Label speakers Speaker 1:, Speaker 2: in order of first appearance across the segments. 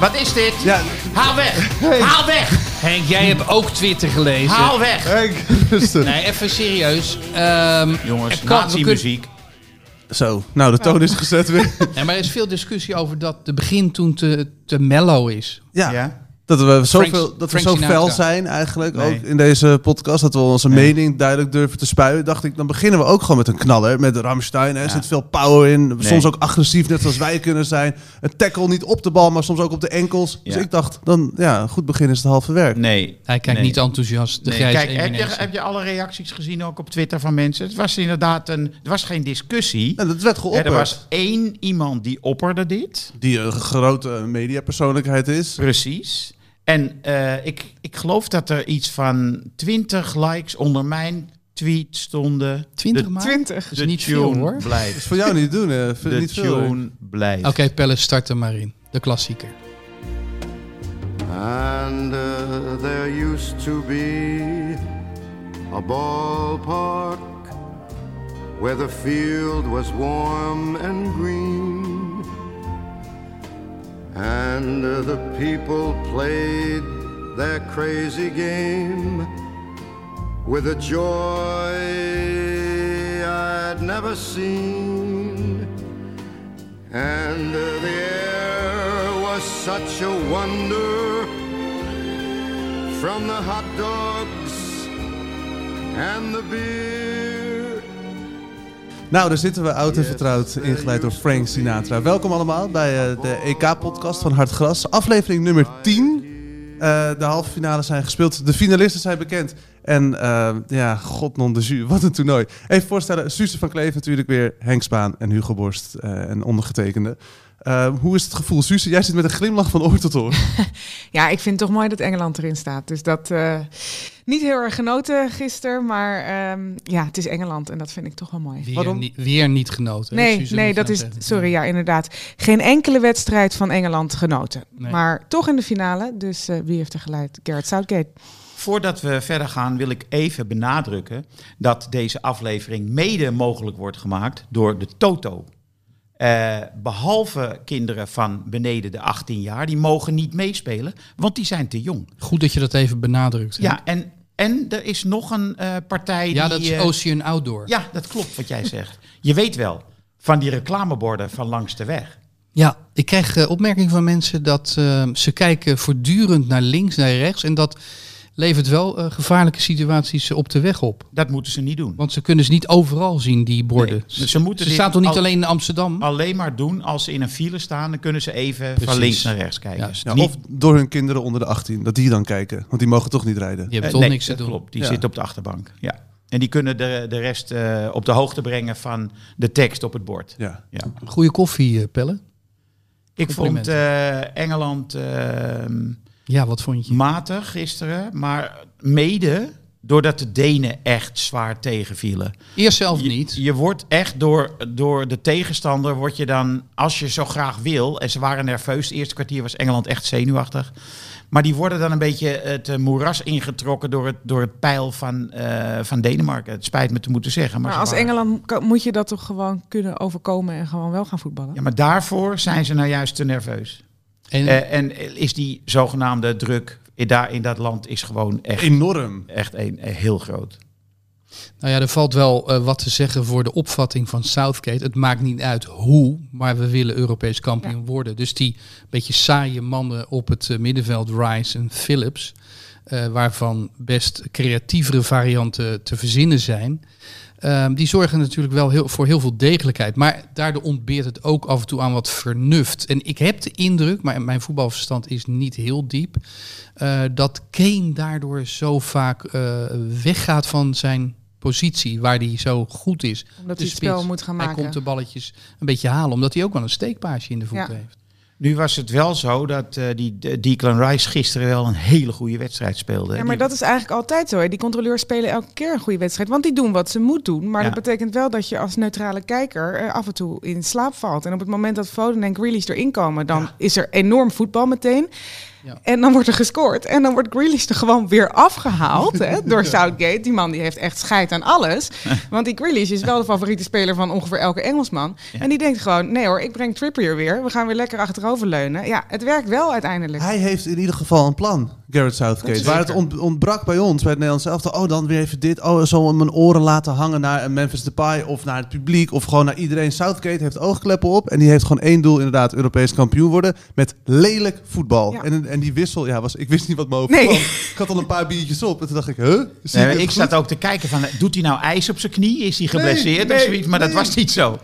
Speaker 1: Wat is dit?
Speaker 2: Ja.
Speaker 1: Haal weg! Haal weg!
Speaker 3: Henk, jij hebt ook Twitter gelezen.
Speaker 1: Haal weg!
Speaker 2: Henk, rustig.
Speaker 3: Nee, even serieus. Ehm,
Speaker 4: Jongens,
Speaker 3: er kan- we kunnen-
Speaker 4: nazi-muziek.
Speaker 2: Zo, nou de toon is gezet weer.
Speaker 3: Nee, maar er is veel discussie over dat de begin toen te, te mellow is.
Speaker 2: Ja,
Speaker 4: Ja.
Speaker 2: dat we zoveel,
Speaker 3: Frank-
Speaker 2: dat we zo
Speaker 3: Frank Sinatra.
Speaker 2: fel zijn eigenlijk
Speaker 4: Nee.
Speaker 2: ook in deze podcast. Dat we onze mening duidelijk durven te spuien. Dacht ik, dan beginnen we ook gewoon met een knaller. Met Ramstein, er zit veel power in. Soms ook agressief, net zoals wij kunnen zijn. Een tackle niet op de bal, maar soms ook op de enkels. Dus
Speaker 4: Ja.
Speaker 2: ik dacht, dan ja, goed begin is het halve werk.
Speaker 4: Nee.
Speaker 3: Hij kijkt
Speaker 4: Nee.
Speaker 3: niet enthousiast. De
Speaker 4: Nee,
Speaker 3: grijze
Speaker 4: Kijk, heb je,
Speaker 3: eminentie.
Speaker 4: heb je alle reacties gezien ook op Twitter van mensen? Het was inderdaad een, er was geen discussie.
Speaker 2: En dat werd geopperd.
Speaker 4: Er was één iemand die opperde dit.
Speaker 2: Die een grote eh, mediapersoonlijkheid is.
Speaker 4: Precies. En eh, ik, ik geloof dat er iets van 20 likes onder mijn tweet stonden.
Speaker 3: 20
Speaker 4: De-
Speaker 3: maar?
Speaker 5: 20.
Speaker 3: Dat is
Speaker 4: de
Speaker 3: niet
Speaker 4: tune
Speaker 3: veel hoor. Oké,
Speaker 4: Blijft.
Speaker 2: Is voor jou niet te doen, hè? Vind-
Speaker 4: De
Speaker 2: niet veel, hè?
Speaker 4: tune blijft.
Speaker 3: Pelle, start er maar in. De klassieker.
Speaker 6: And uh, there used to be a ballpark where the field was warm and green. And uh, the people played their crazy game with a joy I'd never seen. And uh, the air was such a wonder from the hot dogs and the beer.
Speaker 2: Nou, daar zitten we oud en
Speaker 6: Yes,
Speaker 2: vertrouwd,
Speaker 6: there
Speaker 2: ingeleid door
Speaker 6: used
Speaker 2: Frank
Speaker 6: to
Speaker 2: Sinatra. Welkom allemaal bij eh, de EK-podcast van Hartgras, aflevering nummer 10. Eh, de halve finales zijn gespeeld, de finalisten zijn bekend. En eh, ja, god non de jus, wat een toernooi. Even voorstellen, Suze van Kleef natuurlijk weer, Henk Spaan en Hugo Borst eh, en ondergetekende. Eh, hoe is het gevoel, Suze? Jij zit met een glimlach van oor tot oor.
Speaker 5: Ja, ik vind het toch mooi dat Engeland erin staat. Dus dat eh, niet heel erg genoten gisteren, maar ehm, ja, het is Engeland en dat vind ik toch wel mooi.
Speaker 3: Weer,
Speaker 2: Waarom?
Speaker 3: niet- weer niet genoten. hè?
Speaker 5: Nee,
Speaker 3: Suze,
Speaker 5: nee,
Speaker 3: moet je
Speaker 5: dat is,
Speaker 3: zeggen.
Speaker 5: sorry, ja, inderdaad. Geen enkele wedstrijd van Engeland genoten.
Speaker 3: Nee.
Speaker 5: Maar toch in de finale, dus eh, wie heeft er geleid? Gerrit Southgate.
Speaker 4: Voordat we verder gaan wil ik even benadrukken dat deze aflevering mede mogelijk wordt gemaakt door de Toto. Eh, behalve kinderen van beneden de 18 jaar, die mogen niet meespelen, want die zijn te jong.
Speaker 3: Goed dat je dat even benadrukt. hè?
Speaker 4: Ja, en, en er is nog een eh, partij die...
Speaker 3: ja dat is
Speaker 4: eh,
Speaker 3: Ocean Outdoor.
Speaker 4: ja, dat klopt wat jij zegt. Je weet wel, van die reclameborden van langs de weg.
Speaker 3: Ja, ik krijg eh, opmerkingen van mensen dat eh, ze kijken voortdurend naar links, naar rechts. En dat levert wel eh, gevaarlijke situaties eh, op de weg op.
Speaker 4: Dat moeten ze niet doen.
Speaker 3: Want ze kunnen ze niet overal zien, die borden.
Speaker 4: Nee, ze moeten dit
Speaker 3: staan toch niet
Speaker 4: al- Ah.
Speaker 3: alleen in Amsterdam?
Speaker 4: Alleen maar doen als ze in een file staan, dan kunnen ze even van
Speaker 3: Precies.
Speaker 4: links naar rechts kijken. Nou,
Speaker 3: Juist.
Speaker 2: Ja,
Speaker 4: Niet-
Speaker 2: of door hun kinderen onder de 18, dat die dan kijken. Want die mogen toch niet rijden.
Speaker 3: Je hebt
Speaker 4: Eh,
Speaker 3: toch
Speaker 4: nee,
Speaker 3: niks te
Speaker 4: dat
Speaker 3: doen.
Speaker 4: Klopt, die
Speaker 2: Ja.
Speaker 4: zit op de achterbank. Ja. En die kunnen de, de rest eh, op de hoogte brengen van de tekst op het bord.
Speaker 2: Ja.
Speaker 4: Ja.
Speaker 3: Goeie koffie, eh, Pelle.
Speaker 4: Ik vond eh, Engeland eh,
Speaker 3: Ja, wat vond je?
Speaker 4: matig gisteren, maar mede doordat de Denen echt zwaar tegenvielen.
Speaker 3: Eerst zelf niet.
Speaker 4: Je, je wordt echt door, door de tegenstander, word je dan, als je zo graag wil, en ze waren nerveus, het eerste kwartier was Engeland echt zenuwachtig. Maar die worden dan een beetje het eh, moeras ingetrokken door het, door het pijl van, eh, van Denemarken. Het spijt me te moeten zeggen. Maar,
Speaker 5: Maar
Speaker 4: ze
Speaker 5: als
Speaker 4: waren-
Speaker 5: Engeland kan- moet je dat toch gewoon kunnen overkomen en gewoon wel gaan voetballen?
Speaker 4: Ja, maar daarvoor zijn ze nou juist te nerveus.
Speaker 3: en,
Speaker 4: Eh, en is die zogenaamde druk in, daar in dat land is gewoon echt,
Speaker 2: Enorm.
Speaker 4: echt een, eh, heel groot.
Speaker 3: nou ja, er valt wel eh, wat te zeggen voor de opvatting van Southgate. Het maakt niet uit hoe, maar we willen Europees kampioen worden. Dus die beetje saaie mannen op het eh, middenveld, Rice en Phillips, eh, waarvan best creatievere varianten te verzinnen zijn. ehm, die zorgen natuurlijk wel heel, voor heel veel degelijkheid. Maar daardoor ontbeert het ook af en toe aan wat vernuft. En ik heb de indruk, maar mijn voetbalverstand is niet heel diep, eh, dat Kane daardoor zo vaak eh, weggaat van zijn positie waar hij zo goed is.
Speaker 5: Omdat
Speaker 3: De
Speaker 5: hij het spel
Speaker 3: spits.
Speaker 5: moet gaan
Speaker 3: Hij
Speaker 5: maken.
Speaker 3: komt de balletjes een beetje halen, omdat hij ook wel een steekpaasje in de voet
Speaker 5: Ja.
Speaker 3: heeft.
Speaker 4: Nu was het wel zo dat eh, die D- Declan Rice gisteren wel een hele goede wedstrijd speelde.
Speaker 5: Ja, maar dat is eigenlijk altijd zo. Hè. Die controleurs spelen elke keer een goede wedstrijd. Want die doen wat ze moet doen. Maar
Speaker 4: Ja.
Speaker 5: dat betekent wel dat je als neutrale kijker eh, af en toe in slaap valt. En op het moment dat Foden en Grealish erin komen, dan is er enorm voetbal meteen.
Speaker 3: Ja.
Speaker 5: En dan wordt er gescoord. En dan wordt Grealish er gewoon weer afgehaald hè, door Southgate. Die man die heeft echt scheid aan alles. Want die Grealish is wel de favoriete speler van ongeveer elke Engelsman. En die denkt gewoon, nee hoor, ik breng Trippier weer. We gaan weer lekker achteroverleunen. Ja, het werkt wel uiteindelijk.
Speaker 2: Hij heeft in ieder geval een plan, Garrett Southgate. Waar het ont- ontbrak bij ons, bij het Nederlands elftal. Oh, dan weer even dit. Oh, zo mijn oren laten hangen naar een Memphis Depay of naar het publiek of gewoon naar iedereen. Southgate heeft oogkleppen op en die heeft gewoon één doel inderdaad, Europees kampioen worden met lelijk voetbal.
Speaker 5: Ja.
Speaker 2: En, en die wissel, ja, was, ik wist niet wat me overkwam.
Speaker 5: Nee.
Speaker 2: Ik had al een paar biertjes op en toen dacht ik, huh? Zie ik
Speaker 4: Nee, maar
Speaker 2: het
Speaker 4: Eh, ik
Speaker 2: goed?
Speaker 4: zat ook te kijken van, doet hij nou ijs op zijn knie? Is hij geblesseerd of
Speaker 2: nee,
Speaker 4: zoiets? Maar dat
Speaker 2: nee.
Speaker 4: was niet zo.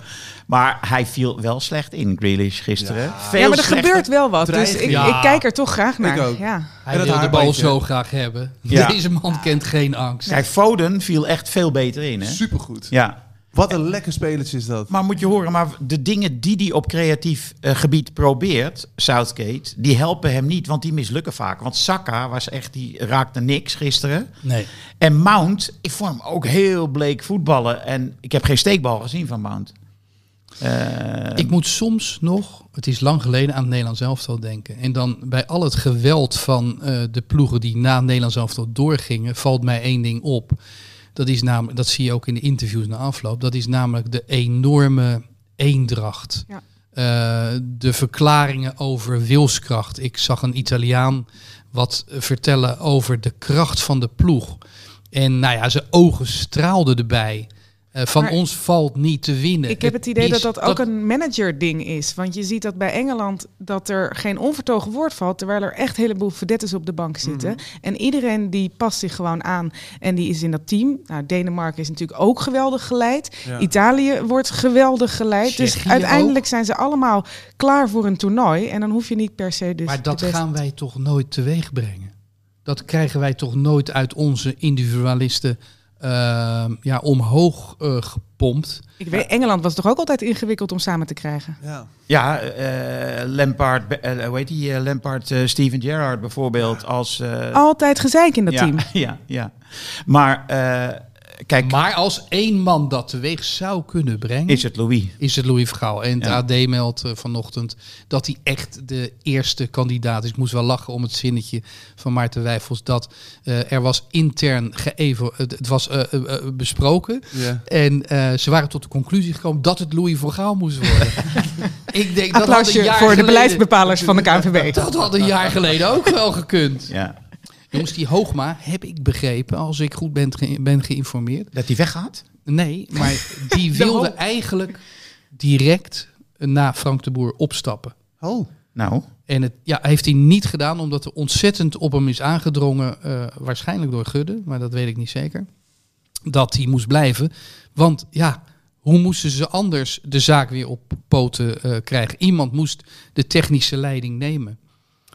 Speaker 4: Maar hij viel wel slecht in, Grealish, gisteren. Veel
Speaker 5: ja, maar er
Speaker 4: slechter.
Speaker 5: gebeurt wel wat. Dus
Speaker 2: Dreiging.
Speaker 5: ik,
Speaker 3: Ja.
Speaker 5: ik kijk er toch graag naar.
Speaker 2: ook.
Speaker 5: Ja.
Speaker 3: Hij
Speaker 2: En
Speaker 3: wil
Speaker 2: dat
Speaker 3: de bal
Speaker 2: haarbandje.
Speaker 3: zo graag hebben.
Speaker 4: Ja.
Speaker 3: Deze man kent geen angst.
Speaker 4: Kijk, Foden viel echt veel beter in, hè?
Speaker 2: Supergoed.
Speaker 4: Ja.
Speaker 2: Wat een lekker spelertje is dat.
Speaker 4: Maar moet je horen, maar de dingen die hij op creatief eh, gebied probeert, Southgate, die helpen hem niet, want die mislukken vaak. Want Saka was echt, die raakte niks gisteren.
Speaker 3: Nee.
Speaker 4: En Mount, ik vond hem ook heel bleek voetballen. En ik heb geen steekbal gezien van Mount. Eh,
Speaker 3: Ik moet soms nog, het is lang geleden, aan het Nederlands elftal denken. En dan bij al het geweld van eh, de ploegen die na het Nederlands elftal doorgingen, valt mij één ding op. Dat, is namelijk, dat zie je ook in de interviews na afloop. Dat is namelijk de enorme eendracht.
Speaker 5: Ja.
Speaker 3: Eh, de verklaringen over wilskracht. Ik zag een Italiaan wat eh, vertellen over de kracht van de ploeg. En nou ja, zijn ogen straalden erbij. Eh, van
Speaker 5: Maar
Speaker 3: ons valt niet te winnen.
Speaker 5: Ik heb het idee dat
Speaker 3: is-
Speaker 5: dat ook een manager-ding is. Want je ziet dat bij Engeland dat er geen onvertogen woord valt. Terwijl er echt een heleboel verdettes op de bank zitten. En iedereen die past zich gewoon aan. En die is in dat team. Nou, Denemarken is natuurlijk ook geweldig geleid.
Speaker 2: Ja.
Speaker 5: Italië wordt geweldig geleid. dus
Speaker 3: Tsjechië
Speaker 5: uiteindelijk zijn ze allemaal klaar voor een toernooi. En dan hoef je niet per se dus.
Speaker 3: maar dat
Speaker 5: de beste-
Speaker 3: gaan wij toch nooit teweeg brengen? Dat krijgen wij toch nooit uit onze individualisten ehm, ja, omhoog eh, gepompt?
Speaker 5: Ik weet, Engeland was toch ook altijd ingewikkeld om samen te krijgen.
Speaker 2: Ja.
Speaker 4: Ja, eh Lampard, eh, hoe heet die? eh, Lampard, eh, Steven Gerrard bijvoorbeeld als... eh,
Speaker 5: Altijd gezeik in dat
Speaker 4: ja,
Speaker 5: team.
Speaker 4: Ja, ja. Maar eh, kijk,
Speaker 3: Maar als één man dat teweeg zou kunnen brengen,
Speaker 4: is het Louis?
Speaker 3: is het Louis Vergaal. En het
Speaker 4: Ja.
Speaker 3: AD meldt eh, vanochtend dat hij echt de eerste kandidaat is. Ik moest wel lachen om het zinnetje van Maarten Wijfels. Dat eh, er was intern geëvo- het, het was eh, eh, eh, besproken.
Speaker 2: Ja.
Speaker 3: En eh, ze waren tot de conclusie gekomen dat het Louis Vergaal moest worden. Ik denk dat had een
Speaker 5: Applausje voor
Speaker 3: jaar
Speaker 5: de
Speaker 3: geleden-
Speaker 5: beleidsbepalers van de KNVB.
Speaker 3: Dat had een jaar geleden ook wel gekund.
Speaker 4: Ja.
Speaker 3: Jongens, die Hoogma heb ik begrepen, als ik goed ben, ge- ben geïnformeerd.
Speaker 4: Dat hij weggaat?
Speaker 3: Nee, maar die wilde eigenlijk direct na Frank de Boer opstappen.
Speaker 2: Oh.
Speaker 4: Nou,
Speaker 3: En het ja, heeft hij niet gedaan omdat er ontzettend op hem is aangedrongen, eh, waarschijnlijk door Gudde, maar dat weet ik niet zeker, dat hij moest blijven. Want ja, hoe moesten ze anders de zaak weer op poten eh, krijgen? Iemand moest de technische leiding nemen.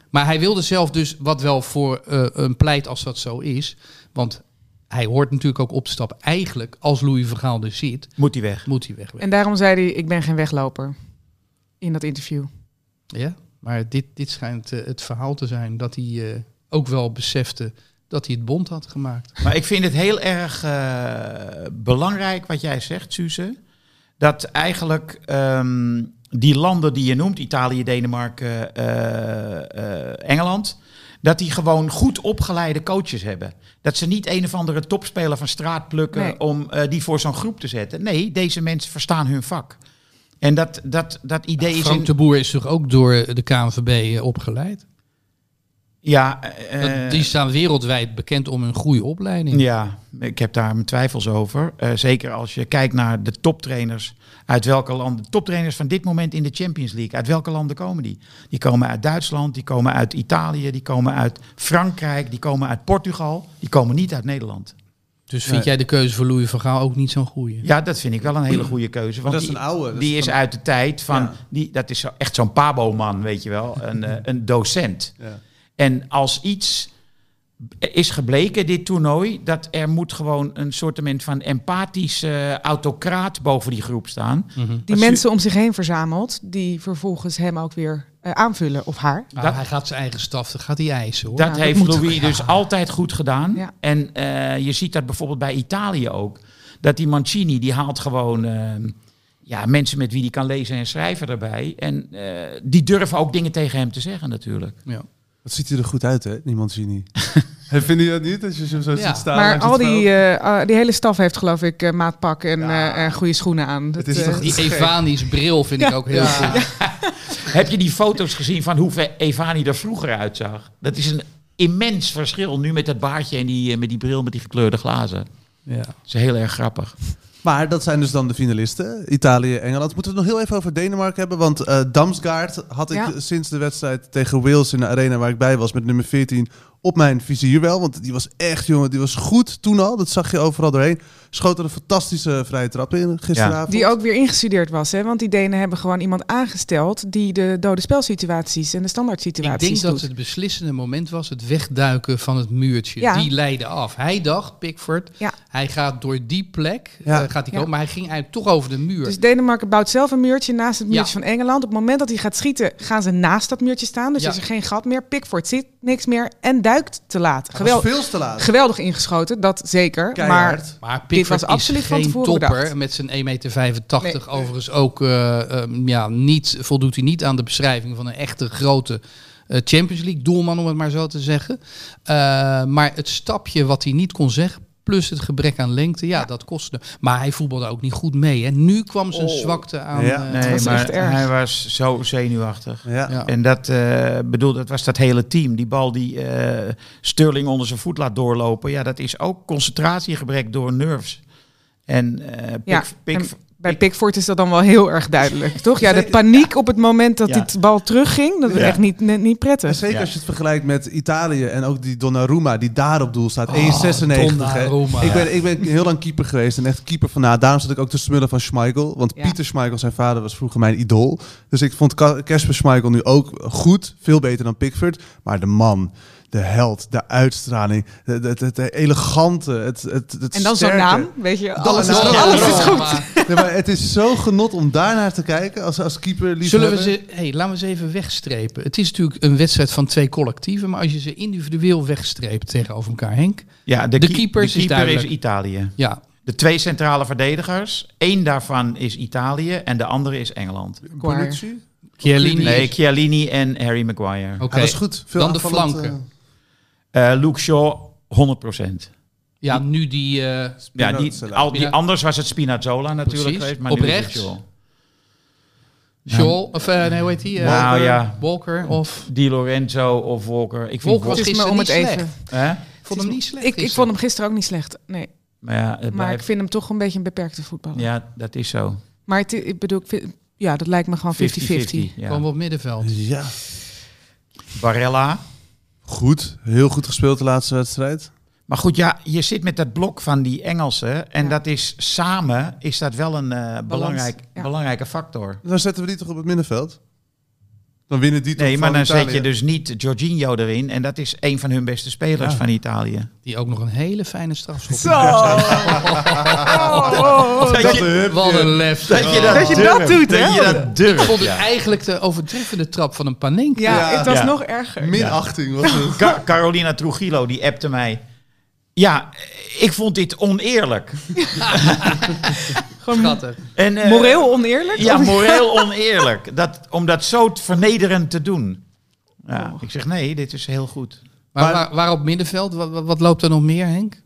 Speaker 3: Maar hij wilde zelf dus, wat wel voor eh, een pleit als dat zo is, want hij hoort natuurlijk ook op te stappen. Eigenlijk, als Louis Vergaal er zit,
Speaker 4: moet hij weg.
Speaker 3: moet hij weg.
Speaker 5: En daarom zei hij: Ik ben geen wegloper. In dat interview.
Speaker 3: Ja, maar dit, dit schijnt eh, het verhaal te zijn dat hij eh, ook wel besefte dat hij het bond had gemaakt.
Speaker 4: Maar ik vind het heel erg eh, belangrijk wat jij zegt, Suze. Dat eigenlijk ehm, die landen die je noemt, Italië, Denemarken, eh, eh, Engeland, dat die gewoon goed opgeleide coaches hebben. Dat ze niet een of andere topspeler van straat plukken
Speaker 5: Nee.
Speaker 4: om eh, die voor zo'n groep te zetten. Nee, deze mensen verstaan hun vak. En dat, dat, dat idee is...
Speaker 3: Frank
Speaker 4: in-
Speaker 3: de Boer is toch ook door de KNVB eh, opgeleid?
Speaker 4: ja,
Speaker 3: Dat-
Speaker 4: eh,
Speaker 3: die staan wereldwijd bekend om hun goede opleiding.
Speaker 4: Ja, ik heb daar mijn twijfels over. Eh, zeker als je kijkt naar de toptrainers uit welke landen. De toptrainers van dit moment in de Champions League. Uit welke landen komen die? Die komen uit Duitsland, die komen uit Italië, die komen uit Frankrijk, die komen uit Portugal. Die komen niet uit Nederland.
Speaker 3: Dus vind
Speaker 2: Nee.
Speaker 3: jij de keuze voor Louis van Gaal ook niet zo'n goede?
Speaker 4: Ja, dat vind ik wel een hele goede keuze. Want
Speaker 2: dat is
Speaker 4: die,
Speaker 2: een oude, dat
Speaker 4: die
Speaker 2: is
Speaker 4: is
Speaker 2: van-
Speaker 4: uit de tijd van.
Speaker 2: Ja.
Speaker 4: Die, dat is zo, echt zo'n Pabo-man, weet je wel. Een, eh, een docent.
Speaker 2: Ja.
Speaker 4: En als iets is gebleken, dit toernooi, dat er moet gewoon een soortement van empathische eh, autocraat boven die groep staan.
Speaker 5: Die
Speaker 4: Als je-
Speaker 5: mensen om zich heen verzamelt, die vervolgens hem ook weer eh, aanvullen of haar.
Speaker 3: Maar
Speaker 4: Dat-
Speaker 3: Ah, hij gaat zijn eigen staf, dan gaat hij eisen hoor.
Speaker 4: Dat
Speaker 5: Ja, dat
Speaker 4: heeft
Speaker 5: moet
Speaker 4: Louis dus altijd goed gedaan.
Speaker 5: Ja.
Speaker 4: En eh, je ziet dat bijvoorbeeld bij Italië ook. Dat die Mancini, die haalt gewoon eh, ja, mensen met wie die kan lezen en schrijven erbij. En eh, die durven ook dingen tegen hem te zeggen natuurlijk.
Speaker 3: Ja.
Speaker 2: Wat ziet hij er goed uit, hè? Niemand ziet niet. Hey, Vinden jullie dat niet? Als je hem zo
Speaker 3: Ja.
Speaker 2: ziet staan.
Speaker 5: maar
Speaker 2: langs het
Speaker 5: al die,
Speaker 2: veld?
Speaker 5: eh, eh, die hele staf heeft geloof ik eh, maatpak en eh, eh, goede schoenen aan. Dat,
Speaker 2: is
Speaker 5: eh,
Speaker 2: toch-
Speaker 3: Die Evanische bril vind ik ook heel goed.
Speaker 4: Heb je die foto's gezien van hoe ver Evani er vroeger uitzag? Dat is een immens verschil nu met dat baardje en die, eh, met die bril met die gekleurde glazen.
Speaker 3: Ja.
Speaker 4: Dat is heel erg grappig.
Speaker 2: Maar dat zijn dus dan de finalisten. Italië, Engeland. Moeten we het nog heel even over Denemarken hebben? Want eh Damsgaard had ik
Speaker 5: Ja.
Speaker 2: sinds de wedstrijd tegen Wales in de arena waar ik bij was met nummer 14 op mijn vizier wel. Want die was echt, jongen, die was goed toen al. Dat zag je overal doorheen. Schoot er een fantastische vrije trap in gisteravond.
Speaker 5: die ook weer ingestudeerd was, hè? want die Denen hebben gewoon iemand aangesteld die de dode spelsituaties en de standaard
Speaker 3: Ik
Speaker 5: situaties
Speaker 3: denk
Speaker 5: doet.
Speaker 3: dat het beslissende moment was het wegduiken van het muurtje.
Speaker 5: Ja.
Speaker 3: Die leidde af. Hij dacht, Pickford,
Speaker 5: Ja.
Speaker 3: hij gaat door die plek,
Speaker 2: Ja.
Speaker 3: eh, gaat hij
Speaker 5: Ja.
Speaker 3: komen, maar hij ging eigenlijk toch over de muur.
Speaker 5: Dus Denemarken bouwt zelf een muurtje naast het muurtje
Speaker 3: Ja.
Speaker 5: van Engeland. Op het moment dat hij gaat schieten, gaan ze naast dat muurtje staan. Dus
Speaker 3: Ja.
Speaker 5: is er geen gat meer. Pickford zit niks meer en duikt te laat.
Speaker 2: Dat was
Speaker 5: Geweld,
Speaker 2: veel te laat.
Speaker 5: geweldig ingeschoten, dat zeker. Maar
Speaker 2: Keihard.
Speaker 3: maar Pickford
Speaker 5: was absoluut
Speaker 3: is
Speaker 5: van
Speaker 3: geen
Speaker 5: tevoren
Speaker 3: topper.
Speaker 5: bedacht.
Speaker 3: Met zijn 1,85 meter.
Speaker 5: Nee.
Speaker 3: Overigens ook eh, ehm, ja, niet, voldoet hij niet aan de beschrijving van een echte grote eh, Champions League doelman, om het maar zo te zeggen. Eh, maar het stapje wat hij niet kon zeggen, plus het gebrek aan lengte, ja, dat kostte. Maar hij voetbalde ook niet goed mee. Hè. Nu kwam
Speaker 5: Oh.
Speaker 3: zijn zwakte aan.
Speaker 2: Ja.
Speaker 3: eh,
Speaker 4: Nee,
Speaker 5: was
Speaker 4: maar
Speaker 5: echt erg.
Speaker 4: hij was zo zenuwachtig.
Speaker 2: Ja.
Speaker 3: ja.
Speaker 4: En dat, eh, bedoel, dat was dat hele team. Die bal die eh, Sterling onder zijn voet laat doorlopen. Ja, dat is ook concentratiegebrek door nerves. En, eh, Pick-
Speaker 5: Ja,
Speaker 4: Pick-
Speaker 5: en bij Pickford is dat dan wel heel erg duidelijk, toch? Ja, de paniek op het moment dat
Speaker 4: Ja.
Speaker 5: die t- bal terugging, dat is
Speaker 4: Ja.
Speaker 5: echt niet, net niet
Speaker 2: En
Speaker 5: prettig.
Speaker 2: zeker
Speaker 4: Ja.
Speaker 2: als je het vergelijkt met Italië en ook die Donnarumma die daar op doel staat. 1,96. hè.
Speaker 3: Ah, Donnarumma.
Speaker 2: Ik ben, ik ben heel lang keeper geweest en echt keeper van na. Daarom zat ik ook te smullen van Schmeichel. Want
Speaker 5: Ja.
Speaker 2: Pieter Schmeichel, zijn vader, was vroeger mijn idool. Dus ik vond Ka- Kasper Schmeichel nu ook goed. Veel beter dan Pickford. Maar de man, de held, de uitstraling, de- de- de- het elegante, het, het, het
Speaker 5: En dan zo'n
Speaker 2: sterke.
Speaker 5: naam, weet je, alles is,
Speaker 2: naam.
Speaker 3: Nou,
Speaker 5: alles is goed.
Speaker 3: Maar-
Speaker 2: Nee, maar het is zo genot om daarnaar te kijken als, als keeper.
Speaker 3: Zullen we ze, hey, laten we ze even wegstrepen. Het is natuurlijk een wedstrijd van twee collectieven, maar als je ze individueel wegstreept tegenover elkaar, Henk.
Speaker 4: ja, de,
Speaker 3: de
Speaker 4: keep-
Speaker 3: keepers is
Speaker 4: de keeper is,
Speaker 3: duidelijk.
Speaker 4: Italië.
Speaker 3: Ja,
Speaker 4: De twee centrale verdedigers. Eén daarvan is Italië en de andere is Engeland.
Speaker 2: Bonucci?
Speaker 3: Chiellini.
Speaker 4: Nee,
Speaker 3: Oké,
Speaker 4: Chiellini en Harry Maguire.
Speaker 2: Hij was goed. Veel
Speaker 3: Dan de
Speaker 2: aanvallend,
Speaker 3: flanken.
Speaker 2: eh,
Speaker 4: Eh, Luke Shaw, 100%.
Speaker 3: Ja, nu die
Speaker 2: Nou.
Speaker 3: eh,
Speaker 4: Ja, die,
Speaker 2: Spinazzola.
Speaker 4: al, die,
Speaker 3: Spina-
Speaker 4: anders was het Spinazzola natuurlijk
Speaker 3: Precies.
Speaker 4: geweest. Maar
Speaker 3: Op
Speaker 4: nu is het
Speaker 3: rechts.
Speaker 4: Shaw.
Speaker 3: Shaw, of eh, nee, hoe heet die? eh,
Speaker 4: Nou ja,
Speaker 3: Walker of...
Speaker 4: Di Lorenzo of Walker. Ik vind
Speaker 3: Walker was
Speaker 5: Het is me
Speaker 3: gisteren
Speaker 5: om
Speaker 3: niet
Speaker 5: het even.
Speaker 3: slecht.
Speaker 4: Hè?
Speaker 3: Ik vond hem niet slecht
Speaker 5: Ik, ik
Speaker 3: gisteren.
Speaker 5: vond hem gisteren ook niet slecht, nee.
Speaker 4: Maar ja, het
Speaker 5: Maar ik
Speaker 4: blijft,
Speaker 5: vind hem toch een beetje een beperkte voetballer.
Speaker 4: ja, dat is zo. 50-50.
Speaker 5: Maar het, ik bedoel, ik vind- ja, dat lijkt me gewoon 50-50.
Speaker 4: ja.
Speaker 3: Kwam op middenveld.
Speaker 2: Ja,
Speaker 4: Barella.
Speaker 2: goed. Heel goed gespeeld de laatste wedstrijd.
Speaker 4: Maar goed, ja, je zit met dat blok van die Engelsen. En
Speaker 5: Ja.
Speaker 4: dat is samen is dat wel een eh, belangrijk,
Speaker 5: ja.
Speaker 4: belangrijke factor.
Speaker 2: Dan zetten we die toch op het middenveld? Dan winnen die toch
Speaker 4: Nee, maar
Speaker 2: van
Speaker 4: dan
Speaker 2: Italië.
Speaker 4: zet je dus niet Jorginho erin. En dat is een van hun beste spelers
Speaker 2: Ja.
Speaker 4: van Italië.
Speaker 3: Die ook nog een hele fijne strafschop.
Speaker 5: Zo! Oh, oh, oh.
Speaker 4: Dat je
Speaker 3: Wat een lef.
Speaker 4: dat, je dat,
Speaker 5: Dat je dat doet, hè?
Speaker 4: Dat je dat
Speaker 3: Ik vond
Speaker 4: durft.
Speaker 3: het
Speaker 4: ja.
Speaker 3: eigenlijk de overtreffende trap van een panenka.
Speaker 5: Ja,
Speaker 2: Ja.
Speaker 5: het was
Speaker 4: Ja.
Speaker 5: nog erger.
Speaker 2: Minachting was het.
Speaker 4: Ca- Carolina Trujillo, die appte mij. Ja, ik vond dit oneerlijk.
Speaker 3: Schattig.
Speaker 4: En, eh,
Speaker 5: Moreel oneerlijk?
Speaker 4: Ja,
Speaker 5: Of-
Speaker 4: moreel oneerlijk. Dat, om dat zo t- vernederend te doen. Ja, Ik zeg nee, dit is heel goed.
Speaker 3: Maar waar, waar op middenveld? Wat, wat- wat loopt er nog meer, Henk?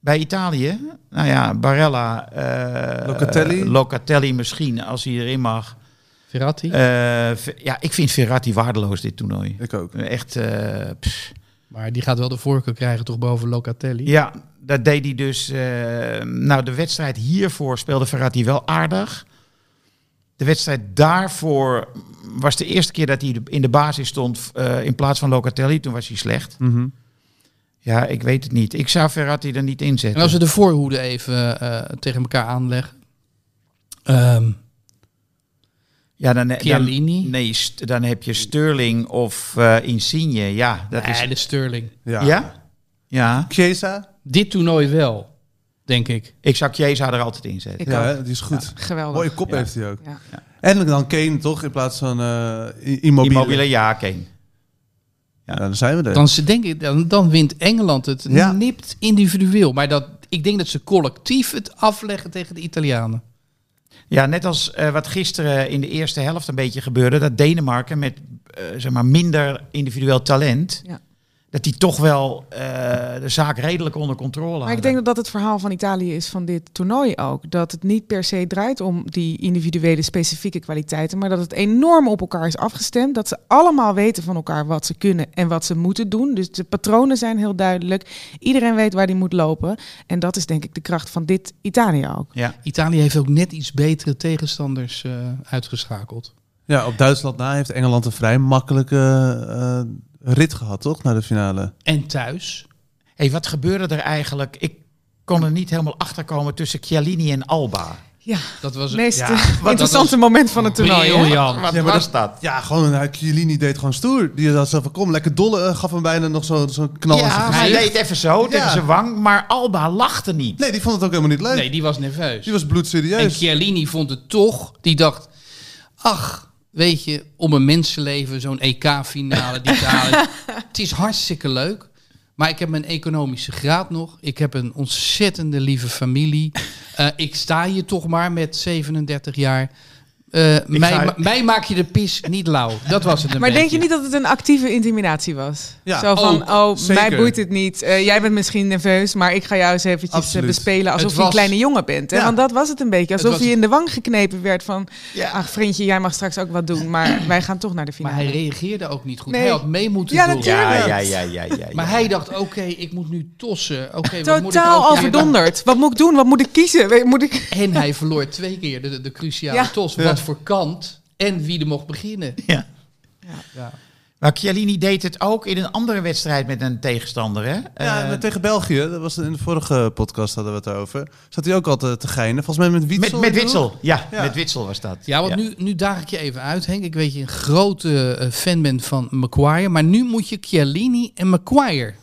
Speaker 4: Bij Italië, nou ja, Barella. eh,
Speaker 2: Locatelli.
Speaker 4: Locatelli misschien, als hij erin mag.
Speaker 3: Verratti?
Speaker 4: Eh, Ver- ja, ik vind Verratti waardeloos, dit toernooi.
Speaker 2: Ik ook.
Speaker 4: Echt, eh, pff.
Speaker 3: Maar die gaat wel de voorkeur krijgen toch boven Locatelli?
Speaker 4: ja, dat deed hij dus. eh, nou, de wedstrijd hiervoor speelde Verratti wel aardig. De wedstrijd daarvoor was de eerste keer dat hij de- in de basis stond eh, in plaats van Locatelli. Toen was hij slecht. Ja, ik weet het niet. Ik zou Verratti er niet
Speaker 3: En
Speaker 4: inzetten.
Speaker 3: als we de voorhoede even eh, tegen elkaar aanleggen. Ehm
Speaker 4: ja, dan, dan,
Speaker 3: Chiellini.
Speaker 4: nee, st- dan heb je Sterling of eh, Insigne. Ja, dat
Speaker 3: nee,
Speaker 4: is...
Speaker 3: de Sterling.
Speaker 2: Ja.
Speaker 4: Ja? Ja,
Speaker 2: Chiesa,
Speaker 3: Dit toernooi wel, denk ik.
Speaker 4: ik zou Chiesa er altijd in zetten.
Speaker 5: Ik
Speaker 2: ja,
Speaker 5: ook.
Speaker 2: hè, die is goed.
Speaker 5: Geweldig.
Speaker 2: Mooie kop
Speaker 4: Ja.
Speaker 2: heeft hij ook.
Speaker 5: Ja.
Speaker 2: En dan Kane toch, in plaats van eh I- Immobile.
Speaker 4: Immobile, ja, Kane.
Speaker 2: Ja, dan zijn we er.
Speaker 3: Dan, ze- denk ik, dan, dan wint Engeland het
Speaker 2: Ja.
Speaker 3: nipt individueel. Maar dat, ik denk dat ze collectief het afleggen tegen de Italianen.
Speaker 4: Ja, net als eh, wat gisteren in de eerste helft een beetje gebeurde, dat Denemarken met eh, zeg maar minder individueel talent,
Speaker 5: Ja.
Speaker 4: dat die toch wel eh, de zaak redelijk onder controle hadden.
Speaker 5: Maar ik denk dat dat het verhaal van Italië is van dit toernooi ook. Dat het niet per se draait om die individuele specifieke kwaliteiten, maar dat het enorm op elkaar is afgestemd. Dat ze allemaal weten van elkaar wat ze kunnen en wat ze moeten doen. Dus de patronen zijn heel duidelijk. Iedereen weet waar die moet lopen. En dat is denk ik de kracht van dit Italië ook.
Speaker 4: Ja,
Speaker 3: Italië heeft ook net iets betere tegenstanders eh, uitgeschakeld.
Speaker 2: Ja, op Duitsland na heeft Engeland een vrij makkelijke eh, rit gehad, toch? Naar de finale.
Speaker 3: En thuis.
Speaker 4: hey, wat gebeurde er eigenlijk? Ik kon er niet helemaal achter komen tussen Chiellini en Alba.
Speaker 5: Ja,
Speaker 3: Dat was
Speaker 5: het meest
Speaker 3: ja,
Speaker 5: eh,
Speaker 3: dat was
Speaker 5: interessante moment van het toernooi. hè?
Speaker 3: briljant.
Speaker 4: Wat
Speaker 2: Ja, maar
Speaker 4: was dat?
Speaker 2: Ja, gewoon uh, Chiellini deed gewoon stoer. Die had zo van, kom, lekker dolle. eh, gaf hem bijna nog zo- zo'n knal in zijn
Speaker 4: Ja, hij
Speaker 2: gezicht.
Speaker 4: deed even zo tegen zijn wang, maar Alba lachte niet.
Speaker 2: Nee, die vond het ook helemaal niet leuk.
Speaker 3: Nee, die was nerveus.
Speaker 2: Die was
Speaker 3: En
Speaker 2: bloedserieus.
Speaker 3: Chiellini vond het toch, die dacht, ach, weet je, om een mensenleven, zo'n EK-finale, die talen. het is hartstikke leuk, maar ik heb mijn economische graad nog. Ik heb een ontzettende lieve familie. Eh, ik sta hier toch maar met 37 jaar. Eh, mij,
Speaker 4: ga-
Speaker 3: ma- mij maak je de pis niet lauw. Dat was het een
Speaker 5: Maar denk je
Speaker 3: beetje.
Speaker 5: niet dat het een actieve intimidatie was?
Speaker 2: Ja,
Speaker 5: Zo van,
Speaker 3: ook,
Speaker 5: oh, mij
Speaker 2: zeker.
Speaker 5: boeit het niet. Eh, jij bent misschien nerveus, maar ik ga jou eens eventjes eh,
Speaker 2: Absoluut.
Speaker 5: bespelen alsof
Speaker 3: Het
Speaker 5: je een
Speaker 3: was-
Speaker 5: kleine jongen bent. Hè?
Speaker 2: Ja.
Speaker 5: Want dat was het een beetje.
Speaker 3: Het
Speaker 5: Alsof
Speaker 3: was-
Speaker 5: je in de wang geknepen werd van,
Speaker 4: Ja.
Speaker 5: ach vriendje, jij mag straks ook wat doen. Maar wij gaan toch naar de
Speaker 3: Maar
Speaker 5: finale.
Speaker 3: hij reageerde ook niet goed.
Speaker 5: Nee.
Speaker 3: Hij had mee moeten
Speaker 5: Ja,
Speaker 3: doen.
Speaker 4: Ja,
Speaker 5: tuurlijk.
Speaker 4: ja, ja, ja, ja. ja.
Speaker 3: Maar hij dacht, oké, ik moet nu tossen. Oké, wat moet ik
Speaker 5: Totaal
Speaker 3: ook-
Speaker 5: al
Speaker 3: Ja,
Speaker 5: verdonderd. Wat moet ik doen? Wat moet ik kiezen? Weet- Moet ik...
Speaker 3: En hij verloor twee keer de, de cruciale
Speaker 5: Ja.
Speaker 3: tos. Wat voor kant en wie er mocht beginnen.
Speaker 4: Ja.
Speaker 3: Ja.
Speaker 4: Maar Chiellini deed het ook in een andere wedstrijd met een tegenstander, hè?
Speaker 2: Ja,
Speaker 4: Eh,
Speaker 2: maar tegen België, dat was in de vorige podcast hadden we het over. Zat hij ook al te, te geinen. Volgens mij met Witsel.
Speaker 4: met, met
Speaker 2: in de hoek.
Speaker 4: Witsel, ja,
Speaker 2: Ja.
Speaker 4: Met Witsel was dat.
Speaker 3: Ja, want Nu, nu daag ik je even uit, Henk. Ik weet je een grote eh, fan bent van Maguire. Maar nu moet je Chiellini en Maguire.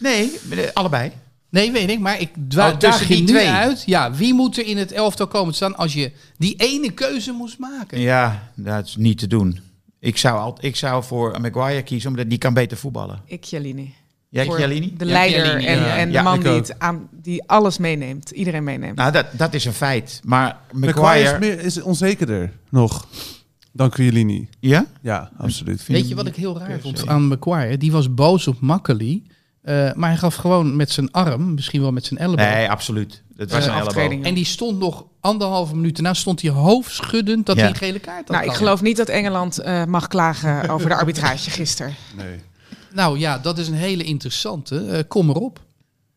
Speaker 4: Nee, allebei.
Speaker 3: Nee, weet ik, maar ik dwa-
Speaker 4: Oh, tussen
Speaker 3: daag je
Speaker 4: die
Speaker 3: nu
Speaker 4: twee.
Speaker 3: uit. Ja, wie moet er in het elftal komen te staan als je die ene keuze moest maken?
Speaker 4: Ja, dat is niet te doen. Ik zou, al, ik zou voor Maguire kiezen, omdat die kan beter voetballen.
Speaker 5: Ik, Jalini.
Speaker 4: Jij,
Speaker 5: Voor
Speaker 4: Chiellini?
Speaker 5: De
Speaker 3: Ja,
Speaker 5: leider
Speaker 3: Chiellini,
Speaker 5: en,
Speaker 3: ja.
Speaker 5: en de
Speaker 4: Ja,
Speaker 5: man
Speaker 2: ik
Speaker 5: die,
Speaker 2: ook.
Speaker 5: het aan, die alles meeneemt. Iedereen meeneemt.
Speaker 4: Nou, dat, dat is een feit. Maar Maguire...
Speaker 2: McQuire is, meer, is onzekerder nog dan Chiellini.
Speaker 4: Ja?
Speaker 2: Ja, absoluut.
Speaker 3: Weet je wat ik heel raar vond aan Maguire? Die was boos op Makkeli. eh, maar hij gaf gewoon met zijn arm, misschien wel met zijn elleboog,
Speaker 4: Nee, absoluut. Het was
Speaker 5: Eh,
Speaker 4: een elleboog.
Speaker 5: aftreding.
Speaker 3: En die stond nog anderhalve minuut daarna stond hij hoofdschuddend dat
Speaker 4: Ja.
Speaker 3: hij een gele kaart had.
Speaker 5: Nou, ik
Speaker 3: gehad.
Speaker 5: geloof niet dat Engeland eh, mag klagen over de arbitrage gisteren.
Speaker 2: Nee.
Speaker 3: Nou ja, dat is een hele interessante. Eh, kom erop.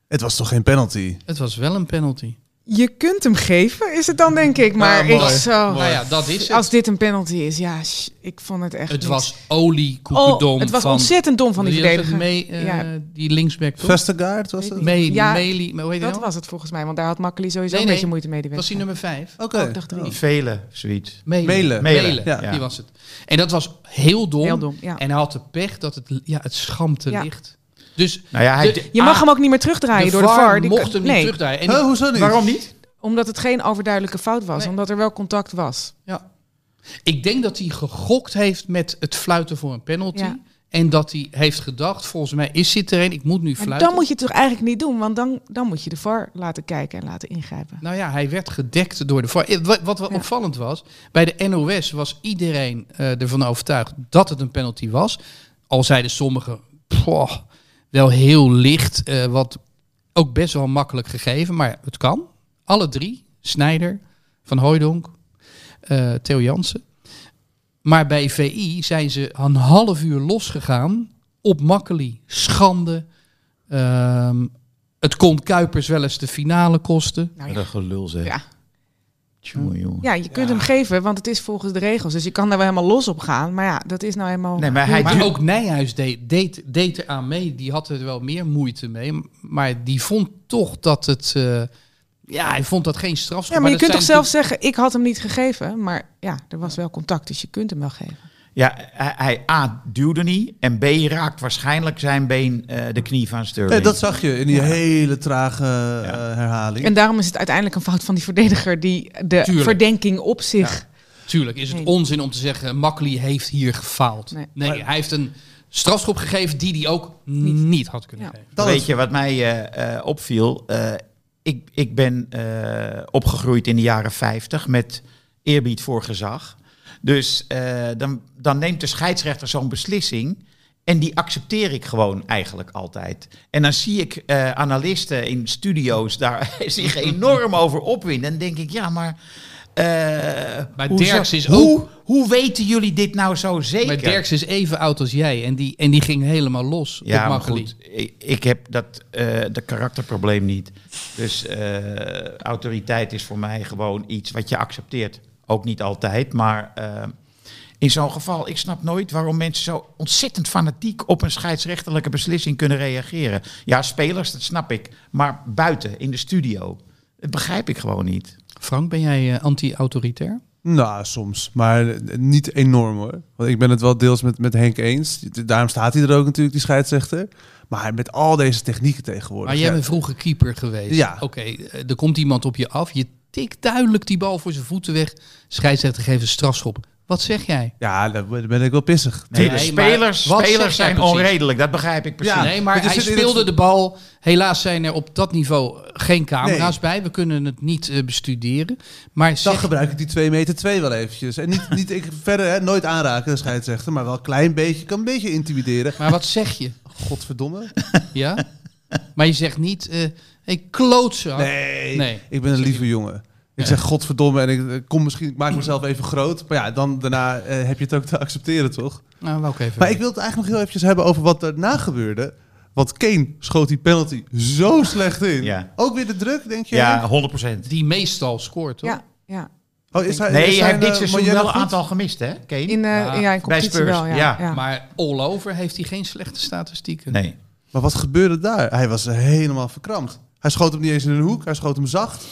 Speaker 2: Het was toch geen penalty?
Speaker 3: Het was wel een penalty.
Speaker 5: Je kunt hem geven, is het dan denk ik. Maar
Speaker 2: mooi.
Speaker 5: ik zo...
Speaker 3: Nou ja, dat is het.
Speaker 5: Als dit een penalty is, ja, sh- ik vond het echt.
Speaker 3: het
Speaker 5: niet.
Speaker 3: was olie koekendom
Speaker 5: oh, het was
Speaker 3: van,
Speaker 5: ontzettend dom van die
Speaker 3: Wie was het?
Speaker 5: verdediger.
Speaker 3: Mee, eh,
Speaker 5: Ja.
Speaker 3: Die linksback toch?
Speaker 2: Vestergaard was het?
Speaker 3: Mee,
Speaker 5: Ja,
Speaker 3: Meli, maar hoe heet hij
Speaker 5: dat
Speaker 3: nou?
Speaker 5: was het volgens mij, want daar had Makkeli sowieso
Speaker 3: Nee,
Speaker 5: een
Speaker 3: nee.
Speaker 5: beetje moeite mee. Die
Speaker 3: Was hij
Speaker 5: wedstrijd.
Speaker 3: nummer vijf?
Speaker 2: Oké.
Speaker 5: Oh, ik dacht drie.
Speaker 4: Vele, zoiets.
Speaker 3: Mele.
Speaker 2: Mele.
Speaker 3: Mele,
Speaker 4: Mele, ja.
Speaker 3: die was het. En dat was heel dom.
Speaker 5: Heel dom, ja.
Speaker 3: En hij had de pech dat het, ja, het schampte
Speaker 5: Ja.
Speaker 3: licht. Dus
Speaker 4: Nou ja, hij...
Speaker 3: De-
Speaker 4: de-
Speaker 5: Je mag hem ook niet meer terugdraaien
Speaker 3: de
Speaker 5: door de
Speaker 3: VAR
Speaker 5: VAR. Die
Speaker 3: mocht
Speaker 5: kan-
Speaker 3: hem niet
Speaker 5: nee,
Speaker 3: terugdraaien. En
Speaker 2: Huh, hoezo niet?
Speaker 4: waarom niet?
Speaker 5: Omdat het geen overduidelijke fout was,
Speaker 3: Nee.
Speaker 5: omdat er wel contact was.
Speaker 3: Ja. Ik denk dat hij gegokt heeft met het fluiten voor een penalty.
Speaker 5: Ja.
Speaker 3: En dat hij heeft gedacht, volgens mij is dit er een, ik moet nu
Speaker 5: Maar
Speaker 3: fluiten.
Speaker 5: dan moet je het toch eigenlijk niet doen, want dan, dan moet je de VAR laten kijken en laten ingrijpen.
Speaker 3: Nou ja, hij werd gedekt door de VAR. Eh, Wat, wat wel
Speaker 5: Ja.
Speaker 3: opvallend was, bij de NOS was iedereen eh, ervan overtuigd dat het een penalty was. Al zeiden sommigen, "Poh, wel heel licht, eh, wat ook best wel makkelijk gegeven, maar het kan. Alle drie, Snijder, Van Hooijdonk, eh, Theo Jansen. Maar bij VI zijn ze een half uur losgegaan op Makkeli. Schande. Ehm, het kon Kuipers wel eens de finale kosten.
Speaker 5: Nou
Speaker 4: Wat
Speaker 5: ja.
Speaker 4: een gelul zeg.
Speaker 5: Ja.
Speaker 4: Tjonge, jonge.
Speaker 5: Ja, je kunt hem geven, want het is volgens de regels. Dus je kan daar wel helemaal los op gaan. Maar ja, dat is nou helemaal...
Speaker 4: Nee, maar hij
Speaker 3: Maar
Speaker 4: duwt-
Speaker 3: ook Nijhuis deed, deed, deed eraan mee. Die had er wel meer moeite mee. Maar die vond toch dat het... eh, ja, hij vond dat geen strafschop.
Speaker 5: Ja, maar je
Speaker 3: dat
Speaker 5: kunt toch
Speaker 3: zijn
Speaker 5: zelf zeggen, ik had hem niet gegeven. Maar ja, er was wel contact, dus je kunt hem wel geven.
Speaker 4: Ja, hij, hij A, duwde niet. En B, raakt waarschijnlijk zijn been eh, de knie van Sterling.
Speaker 2: Nee, dat zag je in die hele trage eh, herhaling.
Speaker 5: En daarom is het uiteindelijk een fout van die verdediger die de
Speaker 3: Tuurlijk.
Speaker 5: verdenking op zich.
Speaker 3: Tuurlijk is het
Speaker 5: Nee.
Speaker 3: onzin om te zeggen, Makkely heeft hier gefaald.
Speaker 5: Nee.
Speaker 3: Nee, hij heeft een strafschop gegeven die hij ook niet, had kunnen
Speaker 5: Ja.
Speaker 3: geven.
Speaker 2: Dat
Speaker 4: Weet
Speaker 2: is-
Speaker 4: je wat mij eh, eh, opviel? Eh, ik, ik ben eh, opgegroeid in de jaren 50 met eerbied voor gezag. Dus eh, dan, dan neemt de scheidsrechter zo'n beslissing. En die accepteer ik gewoon eigenlijk altijd. En dan zie ik eh, analisten in studio's daar zich enorm over opwinden. En denk ik, ja, maar. eh, hoezo-
Speaker 3: Derks is
Speaker 4: hoe,
Speaker 3: ook-
Speaker 4: hoe weten jullie dit nou zo zeker?
Speaker 3: Maar Derks is even oud als jij en die, en die ging helemaal los
Speaker 4: Ja,
Speaker 3: op
Speaker 4: maar
Speaker 3: Makkely.
Speaker 4: goed, ik, ik heb dat, eh dat karakterprobleem niet. Dus eh, autoriteit is voor mij gewoon iets wat je accepteert. Ook niet altijd, maar eh, in zo'n geval, ik snap nooit waarom mensen zo ontzettend fanatiek op een scheidsrechterlijke beslissing kunnen reageren. Ja, spelers, dat snap ik, maar buiten, in de studio, dat begrijp ik gewoon niet.
Speaker 3: Frank, ben jij eh, anti-autoritair?
Speaker 2: Nou, soms. Maar eh, niet enorm hoor. Want ik ben het wel deels met, met Henk eens. Daarom staat hij er ook natuurlijk, die scheidsrechter. Maar met al deze technieken tegenwoordig.
Speaker 3: Maar jij
Speaker 2: ja,
Speaker 3: bent vroeger keeper geweest.
Speaker 2: Ja.
Speaker 3: Oké, eh, er komt iemand op je af. Je tikt duidelijk die bal voor zijn voeten weg. Scheidsrechter geeft een strafschop. Wat zeg jij?
Speaker 2: ja, daar ben daar ben ik wel pissig.
Speaker 4: Nee,
Speaker 3: Nee,
Speaker 4: de
Speaker 3: maar
Speaker 4: spelers,
Speaker 3: wat zeg
Speaker 4: spelers
Speaker 3: jij
Speaker 4: zijn
Speaker 3: precies?
Speaker 4: onredelijk, dat begrijp ik precies.
Speaker 2: Ja,
Speaker 3: nee,
Speaker 2: maar
Speaker 3: maar
Speaker 2: er
Speaker 3: hij
Speaker 2: zit in
Speaker 3: speelde
Speaker 2: het-
Speaker 3: de bal. Helaas zijn er op dat niveau geen camera's
Speaker 2: Nee.
Speaker 3: bij. We kunnen het niet eh, bestuderen. Maar
Speaker 2: Dan
Speaker 3: zeg,
Speaker 2: gebruik ik die 2 meter 2 wel eventjes. En niet, niet ik, verder hè, nooit aanraken, de scheidsrechter. Maar wel een klein beetje. Kan een beetje intimideren.
Speaker 3: maar wat zeg je?
Speaker 2: Godverdomme.
Speaker 3: Ja? maar je zegt niet, eh hey, klootzak.
Speaker 2: Nee,
Speaker 3: Nee.
Speaker 2: ik ben een lieve jongen. Ik zeg godverdomme en ik eh, kom misschien, ik maak mezelf even groot. Maar ja, dan daarna eh, heb je het ook te accepteren, toch?
Speaker 3: Nou, wou ik even.
Speaker 2: Maar ik wil het eigenlijk nog heel eventjes hebben over wat daarna gebeurde. Want Kane schoot die penalty zo slecht in.
Speaker 4: Ja.
Speaker 2: Ook weer de druk, denk je?
Speaker 4: Ja, 100%.
Speaker 3: Die meestal scoort, toch?
Speaker 5: Ja, ja.
Speaker 2: Oh, is hij,
Speaker 4: Nee,
Speaker 2: is
Speaker 4: je
Speaker 2: hij,
Speaker 4: hebt dit
Speaker 2: eh,
Speaker 4: seizoen
Speaker 2: Mojelle
Speaker 4: wel een
Speaker 2: goed?
Speaker 4: aantal gemist, hè, Kane?
Speaker 5: In, eh,
Speaker 3: Ja,
Speaker 5: ja, in competitie
Speaker 4: Spurs,
Speaker 5: wel. Ja,
Speaker 4: ja.
Speaker 5: ja.
Speaker 3: Maar all over heeft hij geen slechte statistieken.
Speaker 4: Nee.
Speaker 2: Maar wat gebeurde daar? Hij was helemaal verkrampt. Hij schoot hem niet eens in een hoek, hij schoot hem zacht.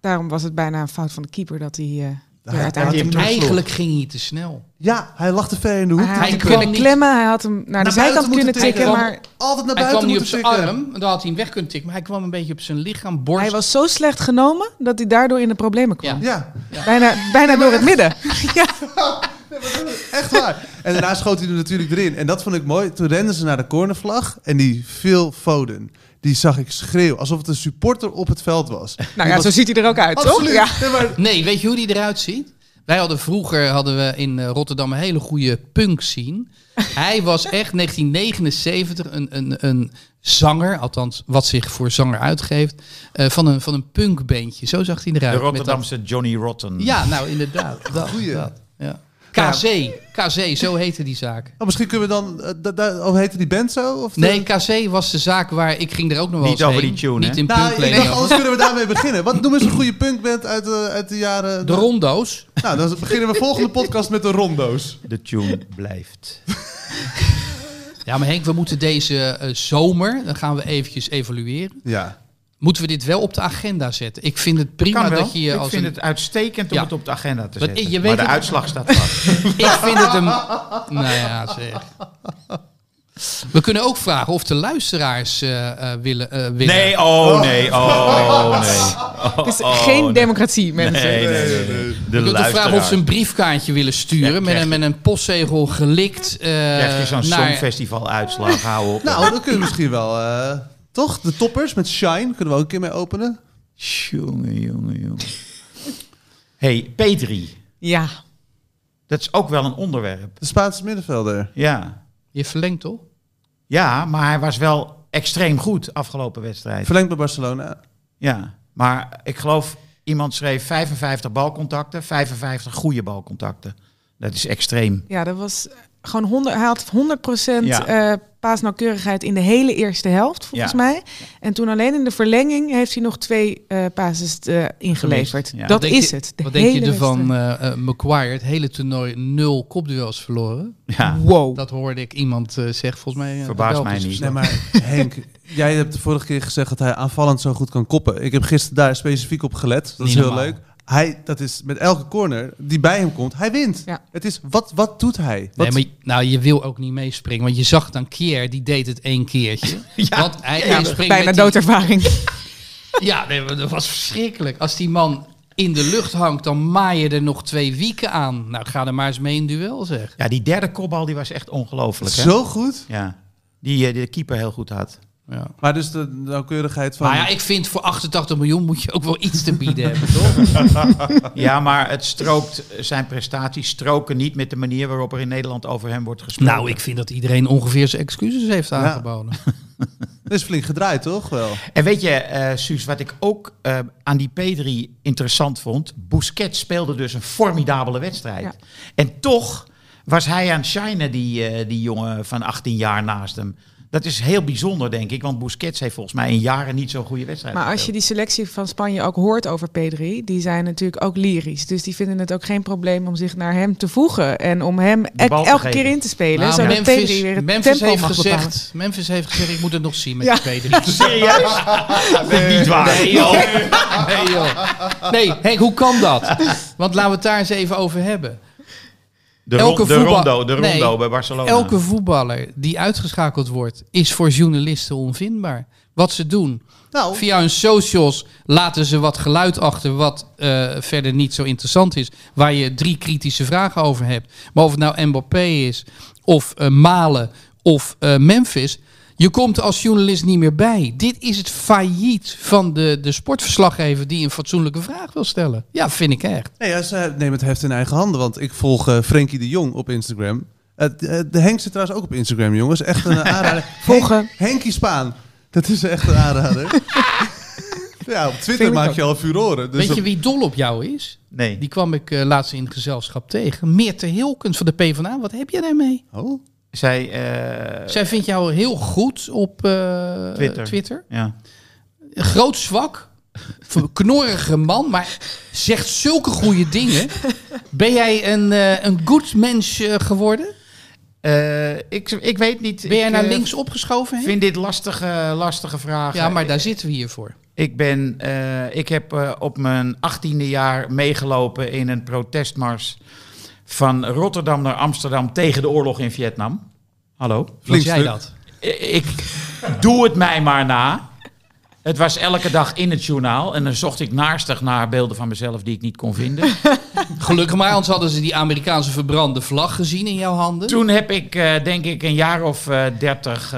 Speaker 5: Daarom was het bijna een fout van de keeper dat hij eh, er
Speaker 2: hij
Speaker 5: uiteindelijk...
Speaker 4: hem
Speaker 3: Eigenlijk ging hij te snel.
Speaker 2: Ja, hij lag te ver in de hoek.
Speaker 5: Hij had
Speaker 3: Hij
Speaker 5: hem
Speaker 3: kwam
Speaker 5: kunnen
Speaker 3: niet-
Speaker 5: klemmen, hij had hem naar Ah, de
Speaker 2: buiten
Speaker 5: zijkant
Speaker 2: moeten
Speaker 5: kunnen tikken,
Speaker 3: tikken.
Speaker 5: maar
Speaker 2: Altijd naar
Speaker 3: Hij
Speaker 2: buiten
Speaker 3: kwam niet op
Speaker 2: moeten
Speaker 3: zijn
Speaker 2: tikken.
Speaker 3: arm, dan had hij hem weg kunnen tikken. Maar hij kwam een beetje op zijn lichaam, borst.
Speaker 5: hij was zo slecht genomen dat hij daardoor in de problemen kwam.
Speaker 3: Ja.
Speaker 2: Ja,
Speaker 5: Bijna, bijna door het midden. ja.
Speaker 2: Echt waar. En daarna schoot hij er natuurlijk erin. En dat vond ik mooi. Toen renden ze naar de cornervlag. En die Phil Foden, die zag ik schreeuwen. Alsof het een supporter op het veld was.
Speaker 5: Nou ja, zo ziet hij er ook uit,
Speaker 2: Absoluut.
Speaker 5: toch? Ja.
Speaker 2: Nee, maar
Speaker 3: Nee, weet je hoe die eruit ziet? Wij hadden vroeger hadden we in eh, Rotterdam een hele goede punk scene. Hij was echt 1979 een, een, een zanger, althans wat zich voor zanger uitgeeft, eh, van, een, van een punkbeentje. Zo zag hij eruit.
Speaker 4: De
Speaker 3: met dat-
Speaker 4: Rotterdamse Johnny Rotten.
Speaker 3: Ja, nou inderdaad. Dat,
Speaker 2: Goeie.
Speaker 3: dat, ja. KZ, KZ, zo heette die zaak.
Speaker 2: Oh, misschien kunnen we dan... eh, da- da- oh, heette die band zo? Of de-
Speaker 3: Nee, KC was de zaak waar ik ging er ook nog wel
Speaker 4: Niet
Speaker 3: eens
Speaker 4: over
Speaker 3: heen.
Speaker 4: die tune,
Speaker 3: Niet
Speaker 4: hè?
Speaker 3: in
Speaker 2: Nou, ik
Speaker 3: punkkleding.
Speaker 2: dacht, anders kunnen we daarmee beginnen. Wat noem eens een goede punkband uit, de uit de jaren...
Speaker 3: de rondo's.
Speaker 2: Nou, dan beginnen we volgende podcast met de rondo's.
Speaker 4: De tune blijft.
Speaker 3: Ja, maar Henk, we moeten deze eh, zomer, dan gaan we eventjes evalueren.
Speaker 2: Ja.
Speaker 3: Moeten we dit wel op de agenda zetten? Ik vind het prima
Speaker 4: Kan wel.
Speaker 3: dat je je
Speaker 4: ik
Speaker 3: als
Speaker 4: vind
Speaker 3: een-
Speaker 4: het uitstekend om
Speaker 3: Ja.
Speaker 4: het op de agenda te
Speaker 3: Want
Speaker 4: zetten.
Speaker 3: je weet
Speaker 4: maar de
Speaker 3: het-
Speaker 4: uitslag staat vast.
Speaker 3: Ik vind het een... nou ja, zeg. We kunnen ook vragen of de luisteraars eh, eh, willen, eh, willen...
Speaker 4: Nee, oh nee, oh nee.
Speaker 5: Het is
Speaker 4: Oh,
Speaker 5: geen
Speaker 4: nee.
Speaker 5: democratie, mensen.
Speaker 4: Nee, nee, nee, nee. De
Speaker 3: Je kunt ook
Speaker 4: luisteraar.
Speaker 3: vragen of ze een briefkaartje willen sturen
Speaker 4: Ja,
Speaker 3: met,
Speaker 4: krijg
Speaker 3: een, met een postzegel gelikt. eh,
Speaker 4: Krijg je zo'n
Speaker 3: naar-
Speaker 4: songfestival uitslag, hou op.
Speaker 2: Nou, dan kunnen we misschien wel... eh, toch? De toppers met Shine kunnen we ook een keer mee openen.
Speaker 4: Jongen, jongen, jongen. hey, Petri.
Speaker 5: Ja,
Speaker 4: Dat is ook wel een onderwerp.
Speaker 2: De Spaanse middenvelder.
Speaker 4: Ja.
Speaker 3: Je verlengt toch?
Speaker 4: ja, maar hij was wel extreem goed afgelopen wedstrijd.
Speaker 2: Verlengd bij Barcelona.
Speaker 4: Ja, maar ik geloof iemand schreef 55 balcontacten, 55 goede balcontacten. Dat is extreem.
Speaker 5: ja dat was eh, gewoon 100, hij had 100%
Speaker 4: Ja.
Speaker 5: eh, paasnauwkeurigheid in de hele eerste helft, volgens
Speaker 4: Ja.
Speaker 5: mij. En toen alleen in de verlenging heeft hij nog twee eh pases eh, ingeleverd.
Speaker 4: Gemist, ja.
Speaker 5: Dat
Speaker 3: Wat denk
Speaker 5: is
Speaker 3: je-
Speaker 5: het. De
Speaker 3: Wat denk je
Speaker 5: hele
Speaker 3: ervan,
Speaker 5: wedstrijd.
Speaker 3: eh eh, Maguire? Het hele toernooi nul kopduels verloren.
Speaker 4: Ja.
Speaker 5: Wow.
Speaker 3: Dat hoorde ik iemand eh zeggen, volgens mij. eh,
Speaker 4: Verbaast
Speaker 3: de Belgische
Speaker 4: mij niet.
Speaker 3: verslag.
Speaker 2: Nee, maar Henk, jij hebt de vorige keer gezegd dat hij aanvallend zo goed kan koppen. Ik heb gisteren daar specifiek op gelet. Dat
Speaker 3: Niet
Speaker 2: is heel
Speaker 3: normaal.
Speaker 2: leuk. Hij, dat is met elke corner die bij hem komt, hij wint.
Speaker 5: Ja.
Speaker 2: Het is, wat, wat doet hij? Wat,
Speaker 3: Nee, maar, je- nou, je wil ook niet meespringen. Want je zag dan Kier, die deed het één keertje.
Speaker 4: Ja,
Speaker 3: want hij, hij
Speaker 5: Ja,
Speaker 3: springt
Speaker 5: bijna
Speaker 3: met die-
Speaker 5: doodervaring.
Speaker 3: Ja, nee, maar dat was verschrikkelijk. Als die man in de lucht hangt, dan maai je er nog twee wieken aan. Nou, ga er maar eens mee in duel, zeg.
Speaker 4: Ja, die derde kopbal die was echt ongelooflijk. hè?
Speaker 2: zo goed.
Speaker 4: Ja, die eh, de keeper heel goed had.
Speaker 3: Ja.
Speaker 2: Maar dus de nauwkeurigheid van...
Speaker 3: Maar ja, ik vind voor 88 miljoen moet je ook wel iets te bieden hebben, toch?
Speaker 4: Ja, maar het strookt, eh, zijn prestaties stroken niet met de manier waarop er in Nederland over hem wordt gesproken.
Speaker 3: Nou, ik vind dat iedereen ongeveer zijn excuses heeft aangeboden.
Speaker 2: Dat is flink gedraaid, toch? Wel.
Speaker 4: En weet je, eh Suus, wat ik ook eh, aan die P3 interessant vond. Busquets speelde dus een formidabele wedstrijd.
Speaker 5: Ja.
Speaker 4: En toch was hij aan het shinen, die, eh, die jongen van 18 jaar naast hem. Dat is heel bijzonder, denk ik. Want Busquets heeft volgens mij in jaren niet zo'n goede wedstrijd
Speaker 5: Maar als je
Speaker 4: gespeeld.
Speaker 5: die selectie van Spanje ook hoort over P3, die zijn natuurlijk ook lyrisch. Dus die vinden het ook geen probleem om zich naar hem te voegen. En om hem
Speaker 4: De bal
Speaker 5: elk-
Speaker 4: te
Speaker 5: elke
Speaker 4: geven.
Speaker 5: keer in te spelen.
Speaker 3: Nou,
Speaker 5: zodat P3
Speaker 3: Memphis,
Speaker 5: weer het
Speaker 3: Memphis
Speaker 5: tempo
Speaker 3: heeft
Speaker 5: mag bepalen.
Speaker 3: gezegd, Memphis heeft gezegd, ik moet het nog zien met
Speaker 5: Ja.
Speaker 3: die P3.
Speaker 4: Serieus? Dat is niet waar.
Speaker 3: Nee joh. nee joh. Nee, Henk, hoe kan dat? Want laten we het daar eens even over hebben.
Speaker 4: De,
Speaker 3: Elke
Speaker 4: ron- de
Speaker 3: voetbal-
Speaker 4: rondo, de rondo
Speaker 3: Nee.
Speaker 4: bij Barcelona.
Speaker 3: Elke voetballer die uitgeschakeld wordt, is voor journalisten onvindbaar. Wat ze doen.
Speaker 2: Nou,
Speaker 3: Via hun socials laten ze wat geluid achter wat eh, verder niet zo interessant is. Waar je drie kritische vragen over hebt. Maar of het nou Mbappé is, of eh, Malen, of eh, Memphis. Je komt als journalist niet meer bij. Dit is het failliet van de, de sportverslaggever die een fatsoenlijke vraag wil stellen. Ja, vind ik echt.
Speaker 2: nee, ja, ze nemen het heft in eigen handen, want ik volg eh, Frenkie de Jong op Instagram. Eh, d- eh, de Henk zit trouwens ook op Instagram, jongens. Echt een eh, aanrader.
Speaker 5: Volgen.
Speaker 2: Henk- Henkie Spaan. Dat is echt een aanrader. ja, op
Speaker 5: Vind
Speaker 2: Twitter
Speaker 5: ik
Speaker 2: maak
Speaker 5: ook.
Speaker 2: je al furoren. Dus
Speaker 3: Weet je
Speaker 2: op-
Speaker 3: wie dol op jou is?
Speaker 4: Nee.
Speaker 3: Die kwam ik eh, laatst in het gezelschap tegen. Meerte Hilkens van de PvdA. Wat heb jij daarmee?
Speaker 2: Oh,
Speaker 4: Zij, eh,
Speaker 3: Zij vindt jou heel goed op eh,
Speaker 4: Twitter.
Speaker 3: Twitter.
Speaker 4: Ja.
Speaker 3: Groot zwak. Een Knorrige man, maar zegt zulke goede dingen. Ben jij een, eh, een goed mens eh, geworden?
Speaker 4: Eh, ik, ik weet niet.
Speaker 3: Ben jij
Speaker 4: ik,
Speaker 3: naar
Speaker 4: eh,
Speaker 3: links opgeschoven? Henk?
Speaker 4: vind dit lastige, lastige vragen.
Speaker 3: Ja, maar daar zitten we hier voor.
Speaker 4: Ik, ben, eh, ik heb eh, op mijn 18e jaar meegelopen in een protestmars van Rotterdam naar Amsterdam tegen de oorlog in Vietnam. Hallo.
Speaker 3: Vind
Speaker 2: Flink
Speaker 3: jij
Speaker 2: stuk.
Speaker 3: dat?
Speaker 4: I- Ik doe het mij maar na. Het was elke dag in het journaal en dan zocht ik naarstig naar beelden van mezelf die ik niet kon vinden.
Speaker 3: Gelukkig maar, anders hadden ze die Amerikaanse verbrande vlag gezien in jouw handen.
Speaker 4: Toen heb ik, eh, denk ik, een jaar of eh, dertig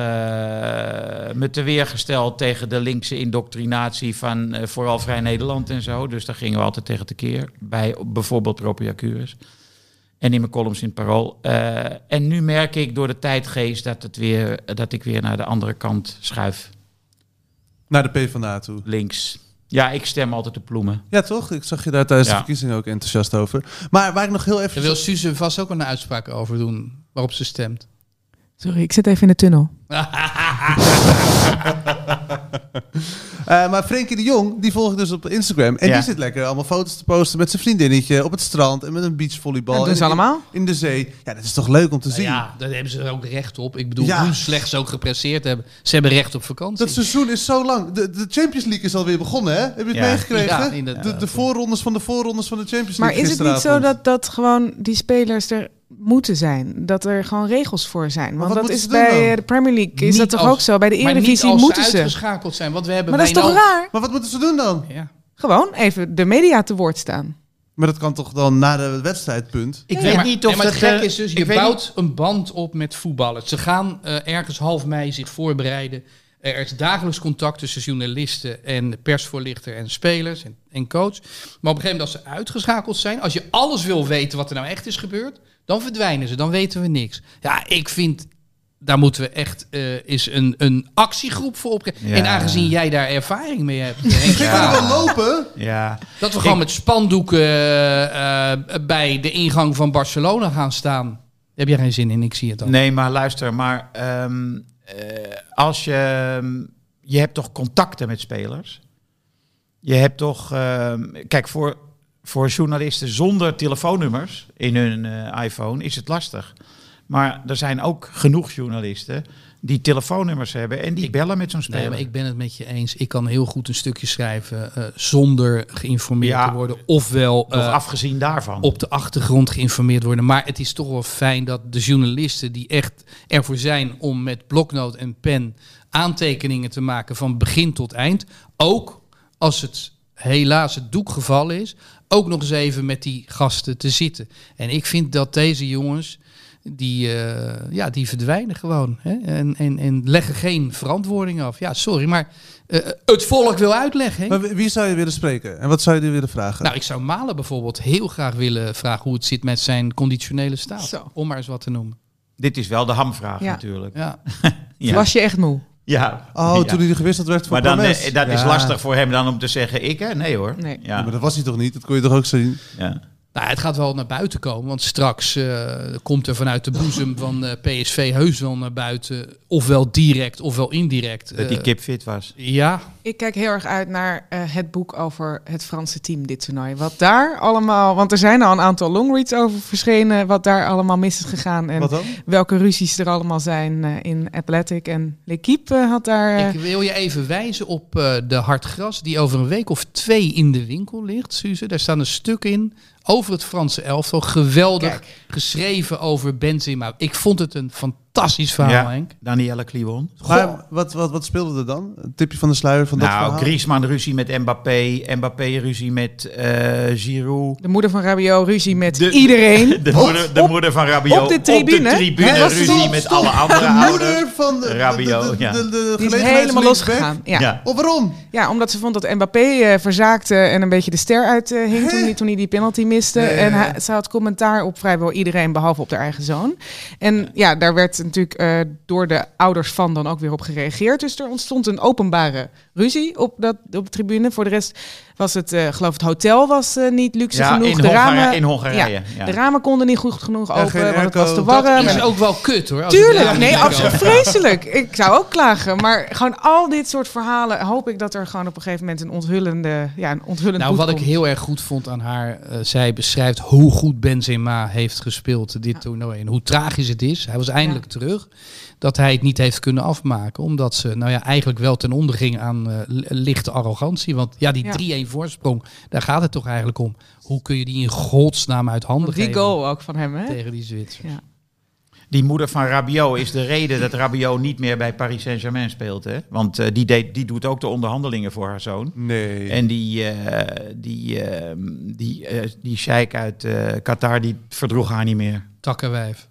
Speaker 4: me te weergesteld tegen de linkse indoctrinatie van eh, vooral Vrij Nederland en zo. Dus daar gingen we altijd tegen tekeer. Bij bijvoorbeeld Propiacurus. En in mijn columns in het Parool. Eh, en nu merk ik door de tijdgeest dat, het weer, dat ik weer naar de andere kant schuif.
Speaker 2: naar de PvdA toe.
Speaker 4: Links. Ja, ik stem altijd op ploemen.
Speaker 2: Ja, toch? Ik zag je daar tijdens
Speaker 4: Ja.
Speaker 2: de verkiezingen ook enthousiast over. Maar waar ik nog heel even...
Speaker 3: Daar wil Suze vast ook een uitspraak over doen, waarop ze stemt.
Speaker 5: Sorry, ik zit even in de tunnel.
Speaker 2: Eh, maar Frenkie de Jong, die volg ik dus op Instagram. En
Speaker 4: Ja.
Speaker 2: die zit lekker allemaal foto's te posten met zijn vriendinnetje op het strand en met een beachvolleybal.
Speaker 5: Dat doen
Speaker 2: en
Speaker 5: ze
Speaker 2: in-
Speaker 5: allemaal.
Speaker 2: In de zee. Ja, dat is toch leuk om te
Speaker 3: Nou
Speaker 2: zien?
Speaker 3: Ja, daar hebben ze er ook recht op. Ik bedoel,
Speaker 2: Ja.
Speaker 3: hoe slecht ze ook gepresseerd hebben. Ze hebben recht op vakantie.
Speaker 2: Dat
Speaker 5: dus-
Speaker 2: seizoen is zo lang. De, de Champions League is alweer begonnen, hè? Heb je het
Speaker 4: Ja.
Speaker 3: Ja,
Speaker 2: meegekregen?
Speaker 3: inderdaad.
Speaker 2: de, de voorrondes van de voorrondes van de Champions
Speaker 5: Maar
Speaker 2: League
Speaker 5: is het niet zo
Speaker 2: gisteravond.
Speaker 5: dat, dat gewoon die spelers er moeten zijn? Dat er gewoon regels voor zijn?
Speaker 2: wat
Speaker 5: Want dat
Speaker 2: moeten
Speaker 5: is
Speaker 2: ze doen dan?
Speaker 5: bij eh, de Premier League is
Speaker 3: Niet
Speaker 5: dat toch
Speaker 3: als-
Speaker 5: ook zo? Bij de
Speaker 3: maar niet
Speaker 5: Eredivisie
Speaker 3: als
Speaker 5: moeten
Speaker 3: ze
Speaker 5: ze.
Speaker 3: uitgeschakeld zijn. Want we hebben
Speaker 5: Maar dat is toch
Speaker 3: Wijnaldum-
Speaker 5: raar?
Speaker 2: Maar wat moeten ze doen dan?
Speaker 3: Ja.
Speaker 5: Gewoon even de media te woord staan.
Speaker 2: Maar dat kan toch dan na de wedstrijdpunt?
Speaker 4: Ik
Speaker 3: Nee,
Speaker 4: weet
Speaker 3: maar,
Speaker 4: niet of
Speaker 3: nee, maar
Speaker 4: dat...
Speaker 3: het gek
Speaker 4: eh,
Speaker 3: is dus,
Speaker 4: ik
Speaker 3: je
Speaker 4: weet
Speaker 3: bouwt een band op met voetballers. Ze gaan eh, ergens half mei zich voorbereiden. Er is dagelijks contact tussen journalisten en persvoorlichter en spelers en, en coach. Maar op een gegeven moment als ze uitgeschakeld zijn, als je alles wil weten wat er nou echt is gebeurd, dan verdwijnen ze, dan weten we niks. Ja, ik vind, daar moeten we echt eh, eens een, een actiegroep voor oprichten.
Speaker 4: Ja.
Speaker 3: En aangezien jij daar ervaring mee hebt, Henk,
Speaker 2: Ze
Speaker 4: Ja.
Speaker 2: kunnen wel lopen.
Speaker 4: niet. Ja.
Speaker 3: dat we gewoon met spandoeken eh, eh, bij de ingang van Barcelona gaan staan. Daar heb jij geen zin in, ik zie het al.
Speaker 4: Nee, maar luister, maar ehm, eh, als je. ehm, je hebt toch contacten met spelers? Je hebt toch. ehm, kijk, voor, voor journalisten zonder telefoonnummers in hun eh, iPhone is het lastig. Maar er zijn ook genoeg journalisten die telefoonnummers hebben en die bellen met zo'n speler.
Speaker 3: Nee, maar ik ben het met je eens. Ik kan heel goed een stukje schrijven eh, zonder geïnformeerd
Speaker 4: Ja.
Speaker 3: te worden. Ofwel
Speaker 4: Nog
Speaker 3: eh,
Speaker 4: afgezien daarvan.
Speaker 3: op de achtergrond geïnformeerd worden. Maar het is toch wel fijn dat de journalisten die echt ervoor zijn om met bloknoot en pen aantekeningen te maken van begin tot eind. Ook als het helaas het doekgeval is, ook nog eens even met die gasten te zitten. En ik vind dat deze jongens. Die, eh, ja, die verdwijnen gewoon. Hè? En, en, en leggen geen verantwoording af. Ja, sorry, maar eh, het volk wil uitleggen. hè?
Speaker 2: Maar wie- wie zou je willen spreken? En wat zou je die willen vragen?
Speaker 3: Nou, ik zou Malen bijvoorbeeld heel graag willen vragen hoe het zit met zijn conditionele staat.
Speaker 5: Zo.
Speaker 3: Om maar eens wat te noemen.
Speaker 4: Dit is wel de hamvraag
Speaker 5: Ja.
Speaker 4: natuurlijk.
Speaker 3: Ja.
Speaker 4: Ja.
Speaker 5: Was je echt moe?
Speaker 4: Ja.
Speaker 2: Oh,
Speaker 4: Ja.
Speaker 2: toen hij gewisseld werd voor
Speaker 4: Maar dan,
Speaker 2: Promes.
Speaker 4: eh, dat is
Speaker 2: Ja.
Speaker 4: lastig voor hem dan om te zeggen ik hè? Nee hoor.
Speaker 5: Nee.
Speaker 2: Ja, maar
Speaker 4: Ja.
Speaker 2: dat was hij toch niet? Dat kon je toch ook zien?
Speaker 4: Ja.
Speaker 3: Nou, het gaat wel naar buiten komen, want straks eh, komt er vanuit de boezem van eh, PSV heus wel naar buiten. Ofwel direct, ofwel indirect.
Speaker 4: Dat die
Speaker 3: Eh,
Speaker 4: kip fit was.
Speaker 3: Ja,
Speaker 5: Ik kijk heel erg uit naar eh, het boek over het Franse team, dit toernooi. Wat daar allemaal, want er zijn al een aantal longreads over verschenen, wat daar allemaal mis is gegaan en
Speaker 2: Wat dan?
Speaker 5: welke ruzies er allemaal zijn eh, in Athletic. En L'Equipe eh, had daar... eh,
Speaker 3: ik wil je even wijzen op eh, de hardgras die over een week of twee in de winkel ligt, Suze. Daar staan een stuk in over het Franse elftal. Geweldig geschreven over Benzema. Ik vond het een fantastisch verhaal,
Speaker 4: Ja. Nou,
Speaker 3: Henk.
Speaker 4: Danielle Kliwon.
Speaker 2: Maar wat, wat, wat speelde er dan? Een tipje van de sluier van dat
Speaker 4: Nou,
Speaker 2: verhaal?
Speaker 4: Griezmann ruzie met Mbappé. Mbappé ruzie met eh Giroud.
Speaker 5: De moeder van Rabiot, ruzie met
Speaker 4: De-
Speaker 5: iedereen.
Speaker 4: De, moeder, de moeder van Rabiot.
Speaker 5: op de tribune?
Speaker 4: tribune
Speaker 5: Hè, was
Speaker 4: ruzie
Speaker 5: stop,
Speaker 4: met alle andere
Speaker 2: de
Speaker 4: ouders.
Speaker 2: moeder van de, de-
Speaker 4: Rabiot,
Speaker 2: de, de,
Speaker 4: ja.
Speaker 2: de, de
Speaker 5: Die is
Speaker 2: gelegenheids-
Speaker 5: helemaal
Speaker 2: linksback.
Speaker 5: losgegaan. Ja. Ja.
Speaker 4: Ja.
Speaker 2: Of waarom?
Speaker 5: omdat ze vond dat Mbappé eh, verzaakte en een beetje de ster uithing hing toen, hij, toen hij die penalty miste.
Speaker 2: Ja, ja,
Speaker 5: En
Speaker 2: ja.
Speaker 5: hij, ze had commentaar op vrijwel iedereen, behalve op haar eigen zoon. En ja, daar werd natuurlijk eh, door de ouders van dan ook weer op gereageerd. Dus er ontstond een openbare ruzie op, dat, op de tribune. Voor de rest was het, eh geloof het hotel was eh, niet luxe
Speaker 4: Ja,
Speaker 5: genoeg.
Speaker 4: in,
Speaker 5: de
Speaker 4: Hongarije-
Speaker 5: ramen,
Speaker 4: in Hongarije.
Speaker 5: ja,
Speaker 4: ja.
Speaker 5: de ramen konden niet goed genoeg
Speaker 2: Ja,
Speaker 5: open,
Speaker 2: geen
Speaker 5: want het
Speaker 2: airco.
Speaker 5: was te
Speaker 2: Dat
Speaker 5: warm.
Speaker 3: Dat
Speaker 5: En-
Speaker 3: is ook wel kut hoor. als het
Speaker 5: eh, Tuurlijk,
Speaker 3: daar
Speaker 5: nee,
Speaker 3: niet kan.
Speaker 5: absoluut vreselijk. Ik zou ook klagen. Maar gewoon al dit soort verhalen hoop ik dat er gewoon op een gegeven moment een onthullende, ja, een onthullend
Speaker 3: Nou,
Speaker 5: boek
Speaker 3: wat ik
Speaker 5: komt.
Speaker 3: heel erg goed vond aan haar, eh, zij beschrijft hoe goed Benzema heeft gespeeld dit toernooi. En hoe tragisch het is. Hij was eindelijk terug. Dat hij het niet heeft kunnen afmaken. Omdat ze nou ja, eigenlijk wel ten onder ging aan eh, li- lichte arrogantie. Want ja, die
Speaker 5: Ja.
Speaker 3: 3-1 voorsprong, daar gaat het toch eigenlijk om. Hoe kun je die in godsnaam uit handen
Speaker 5: die
Speaker 3: geven
Speaker 5: goal ook van hem, hè?
Speaker 3: tegen die Zwitser?
Speaker 5: Ja.
Speaker 4: Die moeder van Rabiot is de reden dat Rabiot niet meer bij Paris Saint-Germain speelt. Hè? Want eh, die, deed, die doet ook de onderhandelingen voor haar zoon.
Speaker 2: Nee.
Speaker 4: En die, eh, die, eh, die, eh die sheik uit eh, Qatar, die verdroeg haar niet meer.
Speaker 3: Takkenwijf.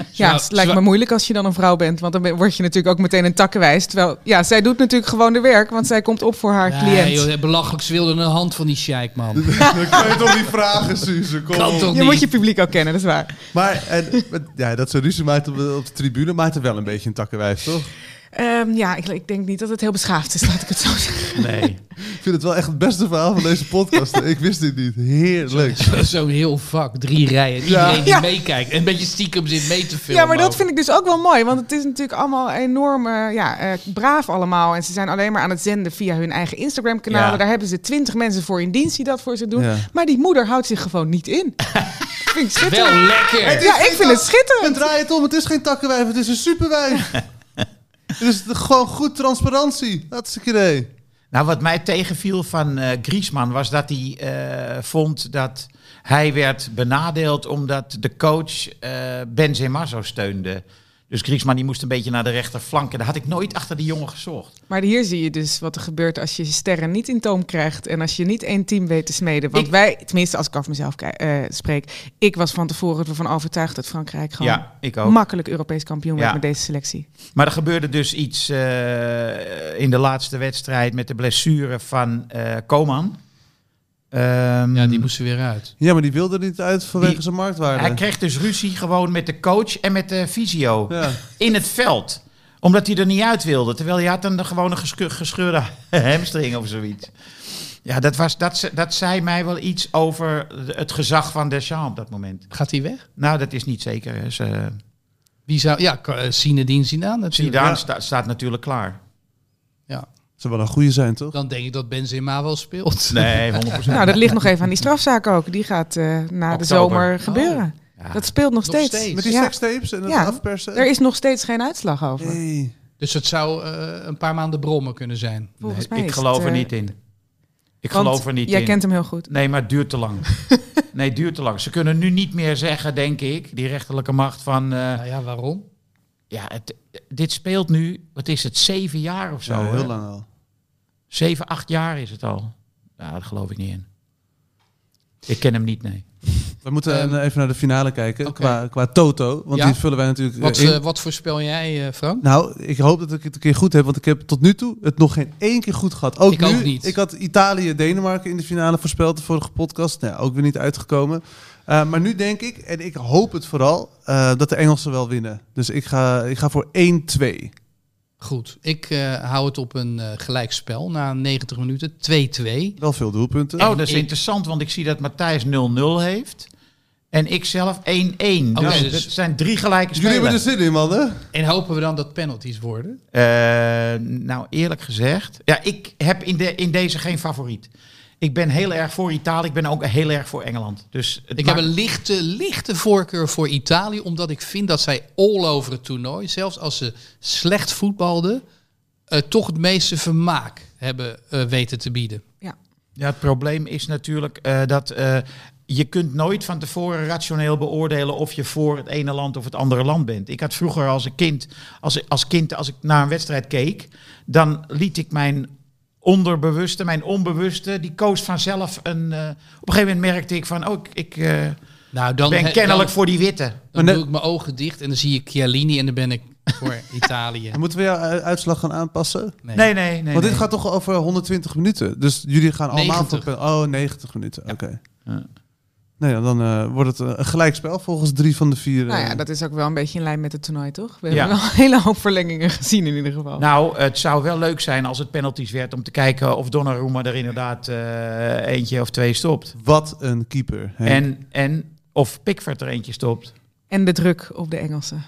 Speaker 5: Ja,
Speaker 3: Zwa-
Speaker 5: het lijkt
Speaker 3: zwa-
Speaker 5: me moeilijk als je dan een vrouw bent. Want dan ben- word je natuurlijk ook meteen een takkenwijs. Terwijl, ja, zij doet natuurlijk gewoon de werk. Want zij komt op voor haar
Speaker 3: Nee,
Speaker 5: cliënt. Oh.
Speaker 3: joh, belachelijk. Ze wilde een hand van die sheik, man.
Speaker 2: Dan kan je toch niet vragen, Suze? Kom.
Speaker 3: Kan toch
Speaker 5: je moet
Speaker 3: niet?
Speaker 5: je publiek ook kennen, dat is waar.
Speaker 2: Maar en, met- ja, dat ze ruzie maakt op de, op de tribune maakt er wel een beetje een takkenwijf, toch?
Speaker 5: Ehm, ja, ik, ik denk niet dat het heel beschaafd is, laat ik het zo zeggen.
Speaker 4: Nee.
Speaker 2: Ik vind het wel echt het beste verhaal van deze podcast. Ik wist dit niet. Heerlijk.
Speaker 3: Zo'n heel vak, drie rijen. Iedereen die
Speaker 5: Ja.
Speaker 3: meekijkt. En een beetje stiekem zit mee te filmen.
Speaker 5: Ja, maar dat
Speaker 3: ook.
Speaker 5: vind ik dus ook wel mooi. Want het is natuurlijk allemaal enorm eh, ja, eh, braaf allemaal. En ze zijn alleen maar aan het zenden via hun eigen Instagram-kanalen.
Speaker 4: Ja.
Speaker 5: Daar hebben ze twintig mensen voor in dienst die dat voor ze doen.
Speaker 2: Ja.
Speaker 5: Maar die moeder houdt zich gewoon niet in. vind ik schitterend.
Speaker 3: Wel lekker.
Speaker 2: Het is
Speaker 5: Ja, ik
Speaker 2: geen
Speaker 5: vind het
Speaker 2: tak-
Speaker 5: schitterend.
Speaker 2: En draai het om. Het is geen takkenwijf, het is een superwijf. het is de- gewoon goed transparantie. Dat is een idee.
Speaker 4: Nou, wat mij tegenviel van eh Griezmann was dat hij eh, vond dat hij werd benadeeld omdat de coach eh, Benzema zo steunde. Dus Griezmann die moest een beetje naar de rechterflank. En daar had ik nooit achter die jongen gezocht.
Speaker 5: Maar hier zie je dus wat er gebeurt als je je sterren niet in toom krijgt. En als je niet één team weet te smeden. Want wij, tenminste als ik af mezelf ki- eh, spreek. Ik was van tevoren ervan overtuigd dat Frankrijk gewoon...
Speaker 4: Ja, ik ook.
Speaker 5: Makkelijk Europees kampioen werd
Speaker 4: Ja.
Speaker 5: met deze selectie.
Speaker 4: Maar er gebeurde dus iets eh, in de laatste wedstrijd met de blessure van eh Coman. Ehm,
Speaker 3: Ja, die moesten weer uit.
Speaker 2: Ja, maar die wilde er niet uit vanwege
Speaker 4: Die-
Speaker 2: zijn marktwaarde.
Speaker 4: Hij kreeg dus ruzie gewoon met de coach en met de fysio
Speaker 2: Ja.
Speaker 4: in het veld omdat hij er niet uit wilde. Terwijl hij had een gewone gescheurde hamstring of zoiets. Ja, dat, was, dat, ze- dat zei mij wel iets over het gezag van Deschamps op dat moment.
Speaker 3: Gaat hij weg?
Speaker 4: Nou, dat is niet zeker. hè. Ze-
Speaker 3: Wie zou... Ja, K- eh, Zinedine Zidane natuurlijk.
Speaker 4: Zidane
Speaker 2: Ja.
Speaker 4: sta- staat natuurlijk klaar.
Speaker 3: Ja.
Speaker 2: Zou wel een goede zijn, toch?
Speaker 3: Dan denk ik dat Benzema wel speelt.
Speaker 4: Nee, 100%.
Speaker 5: Nou, dat ligt nog even aan die strafzaak ook. Die gaat eh, na de
Speaker 4: Oktober. Oh.
Speaker 5: zomer gebeuren. Dat speelt nog, steeds.
Speaker 3: steeds.
Speaker 2: Met die
Speaker 5: Ja.
Speaker 2: sekstapes en het
Speaker 5: Ja.
Speaker 2: afpersen.
Speaker 5: Er is nog steeds geen uitslag over.
Speaker 2: Nee.
Speaker 3: Dus het zou eh, een paar maanden brommen kunnen zijn.
Speaker 5: Volgens mij
Speaker 4: Ik
Speaker 5: is
Speaker 4: geloof
Speaker 5: het,
Speaker 4: er
Speaker 5: eh,
Speaker 4: niet in. Ik
Speaker 5: want
Speaker 4: geloof er niet
Speaker 5: Jij
Speaker 4: in.
Speaker 5: kent hem heel goed.
Speaker 4: Nee, maar het duurt te lang. nee, het duurt te lang. Ze kunnen nu niet meer zeggen, denk ik, die rechterlijke macht van... eh,
Speaker 3: Nou ja, waarom?
Speaker 4: ja, het, dit speelt nu, wat is het, zeven jaar of zo?
Speaker 2: Ja, heel
Speaker 4: hè?
Speaker 2: lang al.
Speaker 4: Zeven, acht jaar is het al. Nou, daar geloof ik niet in. Ik ken hem niet, nee.
Speaker 2: We moeten
Speaker 3: Ehm,
Speaker 2: eh, even naar de finale kijken
Speaker 3: oké.
Speaker 2: qua, qua Toto. Want
Speaker 3: Ja?
Speaker 2: die vullen wij natuurlijk eh,
Speaker 3: Wat,
Speaker 2: in.
Speaker 3: eh, wat voorspel jij, eh, Frank?
Speaker 2: Nou, ik hoop dat ik het een keer goed heb, want ik heb tot nu toe het nog geen één keer goed gehad. Ook
Speaker 3: Ik
Speaker 2: nu,
Speaker 3: ook niet.
Speaker 2: Ik had Italië, Denemarken in de finale voorspeld de vorige podcast. Nou, ook weer niet uitgekomen. Eh, maar nu denk ik, en ik hoop het vooral, eh, dat de Engelsen wel winnen. Dus ik ga, ik ga voor 1-2.
Speaker 3: Goed, ik eh, hou het op een eh, gelijkspel na 90 minuten. 2-2.
Speaker 2: Wel veel doelpunten.
Speaker 4: Oh, dat is
Speaker 3: ik-
Speaker 4: interessant, want ik zie dat Matthijs 0-0 heeft. En ik zelf 1-1.
Speaker 3: Oké,
Speaker 4: dus,
Speaker 3: dus-
Speaker 4: dat zijn drie gelijke
Speaker 2: Jullie
Speaker 4: spelen.
Speaker 2: hebben dus- er zin in, mannen.
Speaker 3: En hopen we dan dat penalties worden?
Speaker 4: Eh, nou, eerlijk gezegd. Ja, ik heb in, de, in deze geen favoriet. Ik ben heel erg voor Italië. Ik ben ook heel erg voor Engeland. Dus het
Speaker 3: Ik
Speaker 4: maakt-
Speaker 3: heb een lichte, lichte voorkeur voor Italië, omdat ik vind dat zij all over het toernooi, zelfs als ze slecht voetbalden, eh, toch het meeste vermaak hebben eh, weten te bieden.
Speaker 4: ja, het probleem is natuurlijk eh, dat eh, je kunt nooit van tevoren rationeel beoordelen of je voor het ene land of het andere land bent. Ik had vroeger als een kind, als, als kind, als ik naar een wedstrijd keek, dan liet ik mijn onderbewuste, mijn onbewuste, die koos vanzelf een. eh, op een gegeven moment merkte ik van, oh, ik, ik eh,
Speaker 3: Nou, dan,
Speaker 4: ben
Speaker 3: he-
Speaker 4: kennelijk
Speaker 3: dan,
Speaker 4: voor die witte.
Speaker 3: dan
Speaker 2: Maar
Speaker 3: doe
Speaker 2: net-
Speaker 3: ik mijn ogen dicht en dan zie ik Chiellini en dan ben ik voor Italië.
Speaker 2: En moeten we jouw u- uitslag gaan aanpassen?
Speaker 3: Nee.
Speaker 4: Nee, nee, nee.
Speaker 2: want
Speaker 4: nee.
Speaker 2: dit gaat toch over 120 minuten. Dus jullie gaan allemaal...
Speaker 3: 90.
Speaker 2: Voor, oh, 90 minuten. Oké.
Speaker 4: Ja.
Speaker 2: Nee, ja, dan eh, wordt het eh, een gelijkspel volgens drie van de vier.
Speaker 5: Nou ja,
Speaker 2: eh,
Speaker 5: dat is ook wel een beetje in lijn met het toernooi, toch? We
Speaker 4: Ja.
Speaker 5: hebben wel een hele hoop verlengingen gezien in ieder geval.
Speaker 4: Nou, het zou wel leuk zijn als het penalties werd om te kijken of Donnarumma er inderdaad eh, eentje of twee stopt.
Speaker 2: Wat een keeper. Henk.
Speaker 4: En, en of Pickford er eentje stopt.
Speaker 5: En de druk op de Engelsen.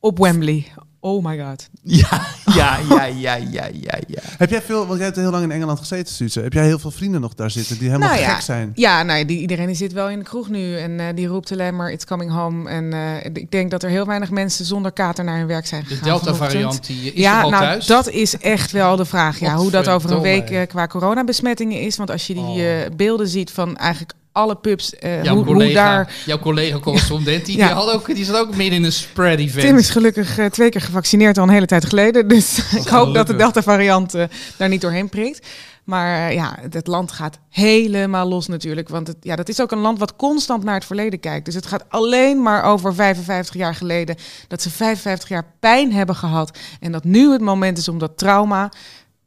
Speaker 5: Op Wembley. Oh my god.
Speaker 4: Ja, ja, ja, ja, ja, ja. ja.
Speaker 2: Heb jij veel, want jij hebt heel lang in Engeland gezeten, Suze. Heb jij heel veel vrienden nog daar zitten die helemaal
Speaker 5: Nou ja.
Speaker 2: gek zijn?
Speaker 5: Ja, nou, die, iedereen die zit wel in de kroeg nu en eh, die roept alleen maar It's coming home. En eh, ik denk dat er heel weinig mensen zonder kater naar hun werk zijn
Speaker 3: De
Speaker 5: gegaan. vanochtend.
Speaker 3: Delta-variant die is
Speaker 5: ja,
Speaker 3: er al
Speaker 5: nou,
Speaker 3: thuis.
Speaker 5: dat is echt wel de vraag. Ja, hoe dat over een
Speaker 3: Godverdomme.
Speaker 5: week eh, qua coronabesmettingen is. Want als je die
Speaker 3: Oh.
Speaker 5: eh, beelden ziet van eigenlijk alle pubs, eh,
Speaker 3: Jouw
Speaker 5: hoe, hoe
Speaker 3: collega,
Speaker 5: daar...
Speaker 3: jouw collega correspondent, die,
Speaker 5: Ja.
Speaker 3: die, had ook, die zat ook midden in een spread event.
Speaker 5: Tim is gelukkig eh, twee keer gevaccineerd al een hele tijd geleden. Dus ik hoop dat de
Speaker 2: gelukkig.
Speaker 5: Delta-variant eh, daar niet doorheen prikt. Maar eh, ja, het land gaat helemaal los natuurlijk. Want het, ja, dat is ook een land wat constant naar het verleden kijkt. Dus het gaat alleen maar over 55 jaar geleden. Dat ze 55 jaar pijn hebben gehad. En dat nu het moment is om dat trauma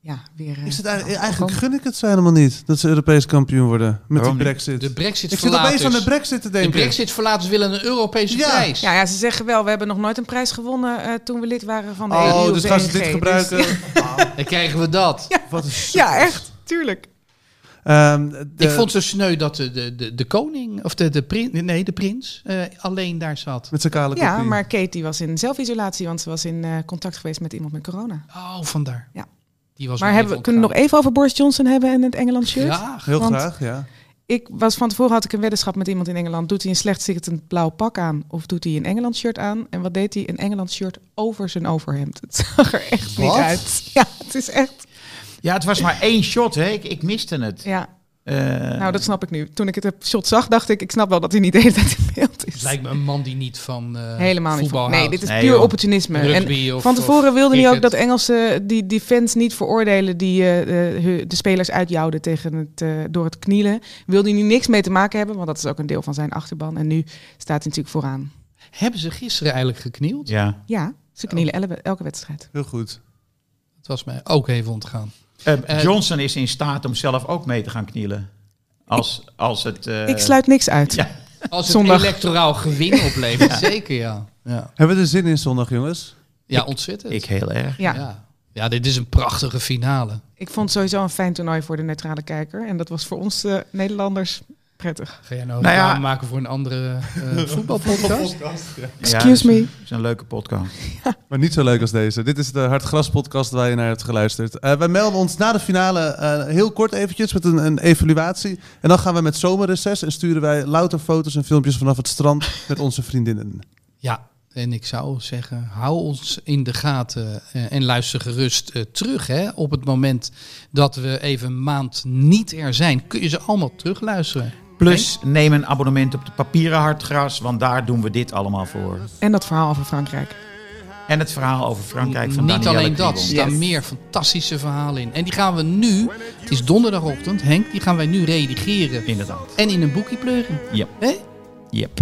Speaker 5: ja, weer... eh,
Speaker 2: Is het eigenlijk, eigenlijk gun ik het ze helemaal niet dat ze Europees kampioen worden met
Speaker 4: Waarom
Speaker 2: die
Speaker 4: niet?
Speaker 2: brexit.
Speaker 3: De brexit
Speaker 2: ik zit opeens aan de
Speaker 3: verlaters.
Speaker 2: brexit te
Speaker 3: De
Speaker 2: denken.
Speaker 3: brexit-verlaters willen een Europese
Speaker 2: Ja.
Speaker 3: prijs.
Speaker 5: ja, ja, ze zeggen wel, we hebben nog nooit een prijs gewonnen eh, toen we lid waren van de EU.
Speaker 2: oh,
Speaker 5: of
Speaker 2: dus
Speaker 5: de
Speaker 2: gaan ze
Speaker 5: EG.
Speaker 2: dit
Speaker 5: Dus-
Speaker 2: gebruiken?
Speaker 3: Dan krijgen we dat.
Speaker 2: Wat een
Speaker 5: ja, echt, tuurlijk.
Speaker 2: Ehm, de-
Speaker 3: Ik vond het zo sneu dat de, de, de, de koning, of de, de, prins, nee, de prins, eh, alleen daar zat.
Speaker 2: Met zijn kale kopie.
Speaker 5: Ja, maar Kate die was in zelfisolatie, want ze was in eh, contact geweest met iemand met corona.
Speaker 3: Oh, vandaar.
Speaker 5: Ja.
Speaker 3: Die was
Speaker 5: Maar
Speaker 3: nog
Speaker 5: hebben,
Speaker 3: even
Speaker 5: kunnen we nog even over Boris Johnson hebben en het Engeland shirt?
Speaker 3: ontgaan. Ja,
Speaker 2: Heel
Speaker 5: want-
Speaker 2: graag, ja.
Speaker 5: Ik was van tevoren had ik een weddenschap met iemand in Engeland. Doet hij een slecht zittend blauw pak aan of doet hij een Engeland shirt aan? En wat deed hij? Een Engeland shirt over zijn overhemd. Het zag er echt
Speaker 2: Wat?
Speaker 5: niet uit. Ja, het is echt.
Speaker 4: Ja, het was maar één shot, hè. Ik, ik miste het.
Speaker 5: Ja,
Speaker 4: Eh,
Speaker 5: nou dat snap ik nu. Toen ik het heb- shot zag, dacht ik, ik snap wel dat hij niet de hele tijd in beeld is.
Speaker 3: het lijkt me een man die niet van eh
Speaker 5: Helemaal niet.
Speaker 3: voetbal
Speaker 5: van- Nee,
Speaker 3: houdt.
Speaker 5: dit is
Speaker 4: Nee,
Speaker 5: puur
Speaker 4: joh.
Speaker 5: opportunisme. En
Speaker 3: Rugby of-
Speaker 5: Van tevoren
Speaker 3: of
Speaker 5: wilde hij ook
Speaker 3: cricket.
Speaker 5: dat Engelsen eh, die, die fans niet veroordelen die eh, eh, hu- de spelers uitjouwden tegen het, eh, door het knielen. Wilde hij niks mee te maken hebben, want dat is ook een deel van zijn achterban. En nu staat hij natuurlijk vooraan.
Speaker 3: Hebben ze gisteren eigenlijk geknield?
Speaker 4: ja.
Speaker 5: Ja, ze knielen elke, elke wedstrijd.
Speaker 2: Heel goed.
Speaker 3: Het was mij ook even ontgaan.
Speaker 4: Eh,
Speaker 3: Eh,
Speaker 4: Johnson is in staat om zelf ook mee te gaan knielen. Als, als het... eh,
Speaker 5: ik sluit niks uit.
Speaker 4: ja.
Speaker 3: Als het
Speaker 5: Zondag.
Speaker 3: electoraal gewin oplevert, zeker ja. Ja,
Speaker 2: Hebben we er zin in zondag, jongens?
Speaker 3: ja ontzettend.
Speaker 4: Ik heel erg.
Speaker 5: Ja.
Speaker 3: ja. Ja, dit is een prachtige finale.
Speaker 5: ik vond het sowieso een fijn toernooi voor de neutrale kijker. En dat was voor ons eh, Nederlanders prettig.
Speaker 3: Ga jij nou,
Speaker 4: Nou ja.
Speaker 3: reclame maken voor een andere eh, voetbalpodcast?
Speaker 5: Excuse
Speaker 4: is-
Speaker 5: me.
Speaker 4: is een leuke podcast.
Speaker 2: Maar niet zo leuk als deze. Dit is de Hartgras podcast waar je naar hebt geluisterd. Eh, wij melden ons na de finale eh, heel kort eventjes met een, een evaluatie. En dan gaan we met zomerreces en sturen wij louter foto's en filmpjes vanaf het strand met onze vriendinnen.
Speaker 3: Ja, en ik zou zeggen, hou ons in de gaten eh, en luister gerust eh, terug. Hè. Op het moment dat we even een maand niet er zijn, kun je ze allemaal terugluisteren.
Speaker 4: Plus, neem een abonnement op de papieren hartgras, want daar doen we dit allemaal voor.
Speaker 5: En dat verhaal over Frankrijk.
Speaker 4: En het verhaal over Frankrijk van
Speaker 3: Niet
Speaker 4: Danielle
Speaker 3: alleen dat, er
Speaker 4: Kriebel.
Speaker 3: staan
Speaker 5: Yes.
Speaker 3: meer fantastische verhalen in. En die gaan we nu, het is donderdagochtend, Henk, die gaan wij nu redigeren.
Speaker 4: Inderdaad.
Speaker 3: En in een boekje pleuren.
Speaker 4: Yep.
Speaker 3: Hè?
Speaker 4: Yep.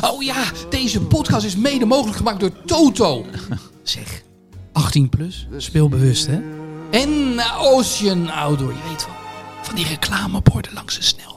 Speaker 3: Oh ja, deze podcast is mede mogelijk gemaakt door Toto. Zeg, 18 plus, speelbewust hè? En Ocean Outdoor, je weet wel. Van die reclameborden langs de snelweg.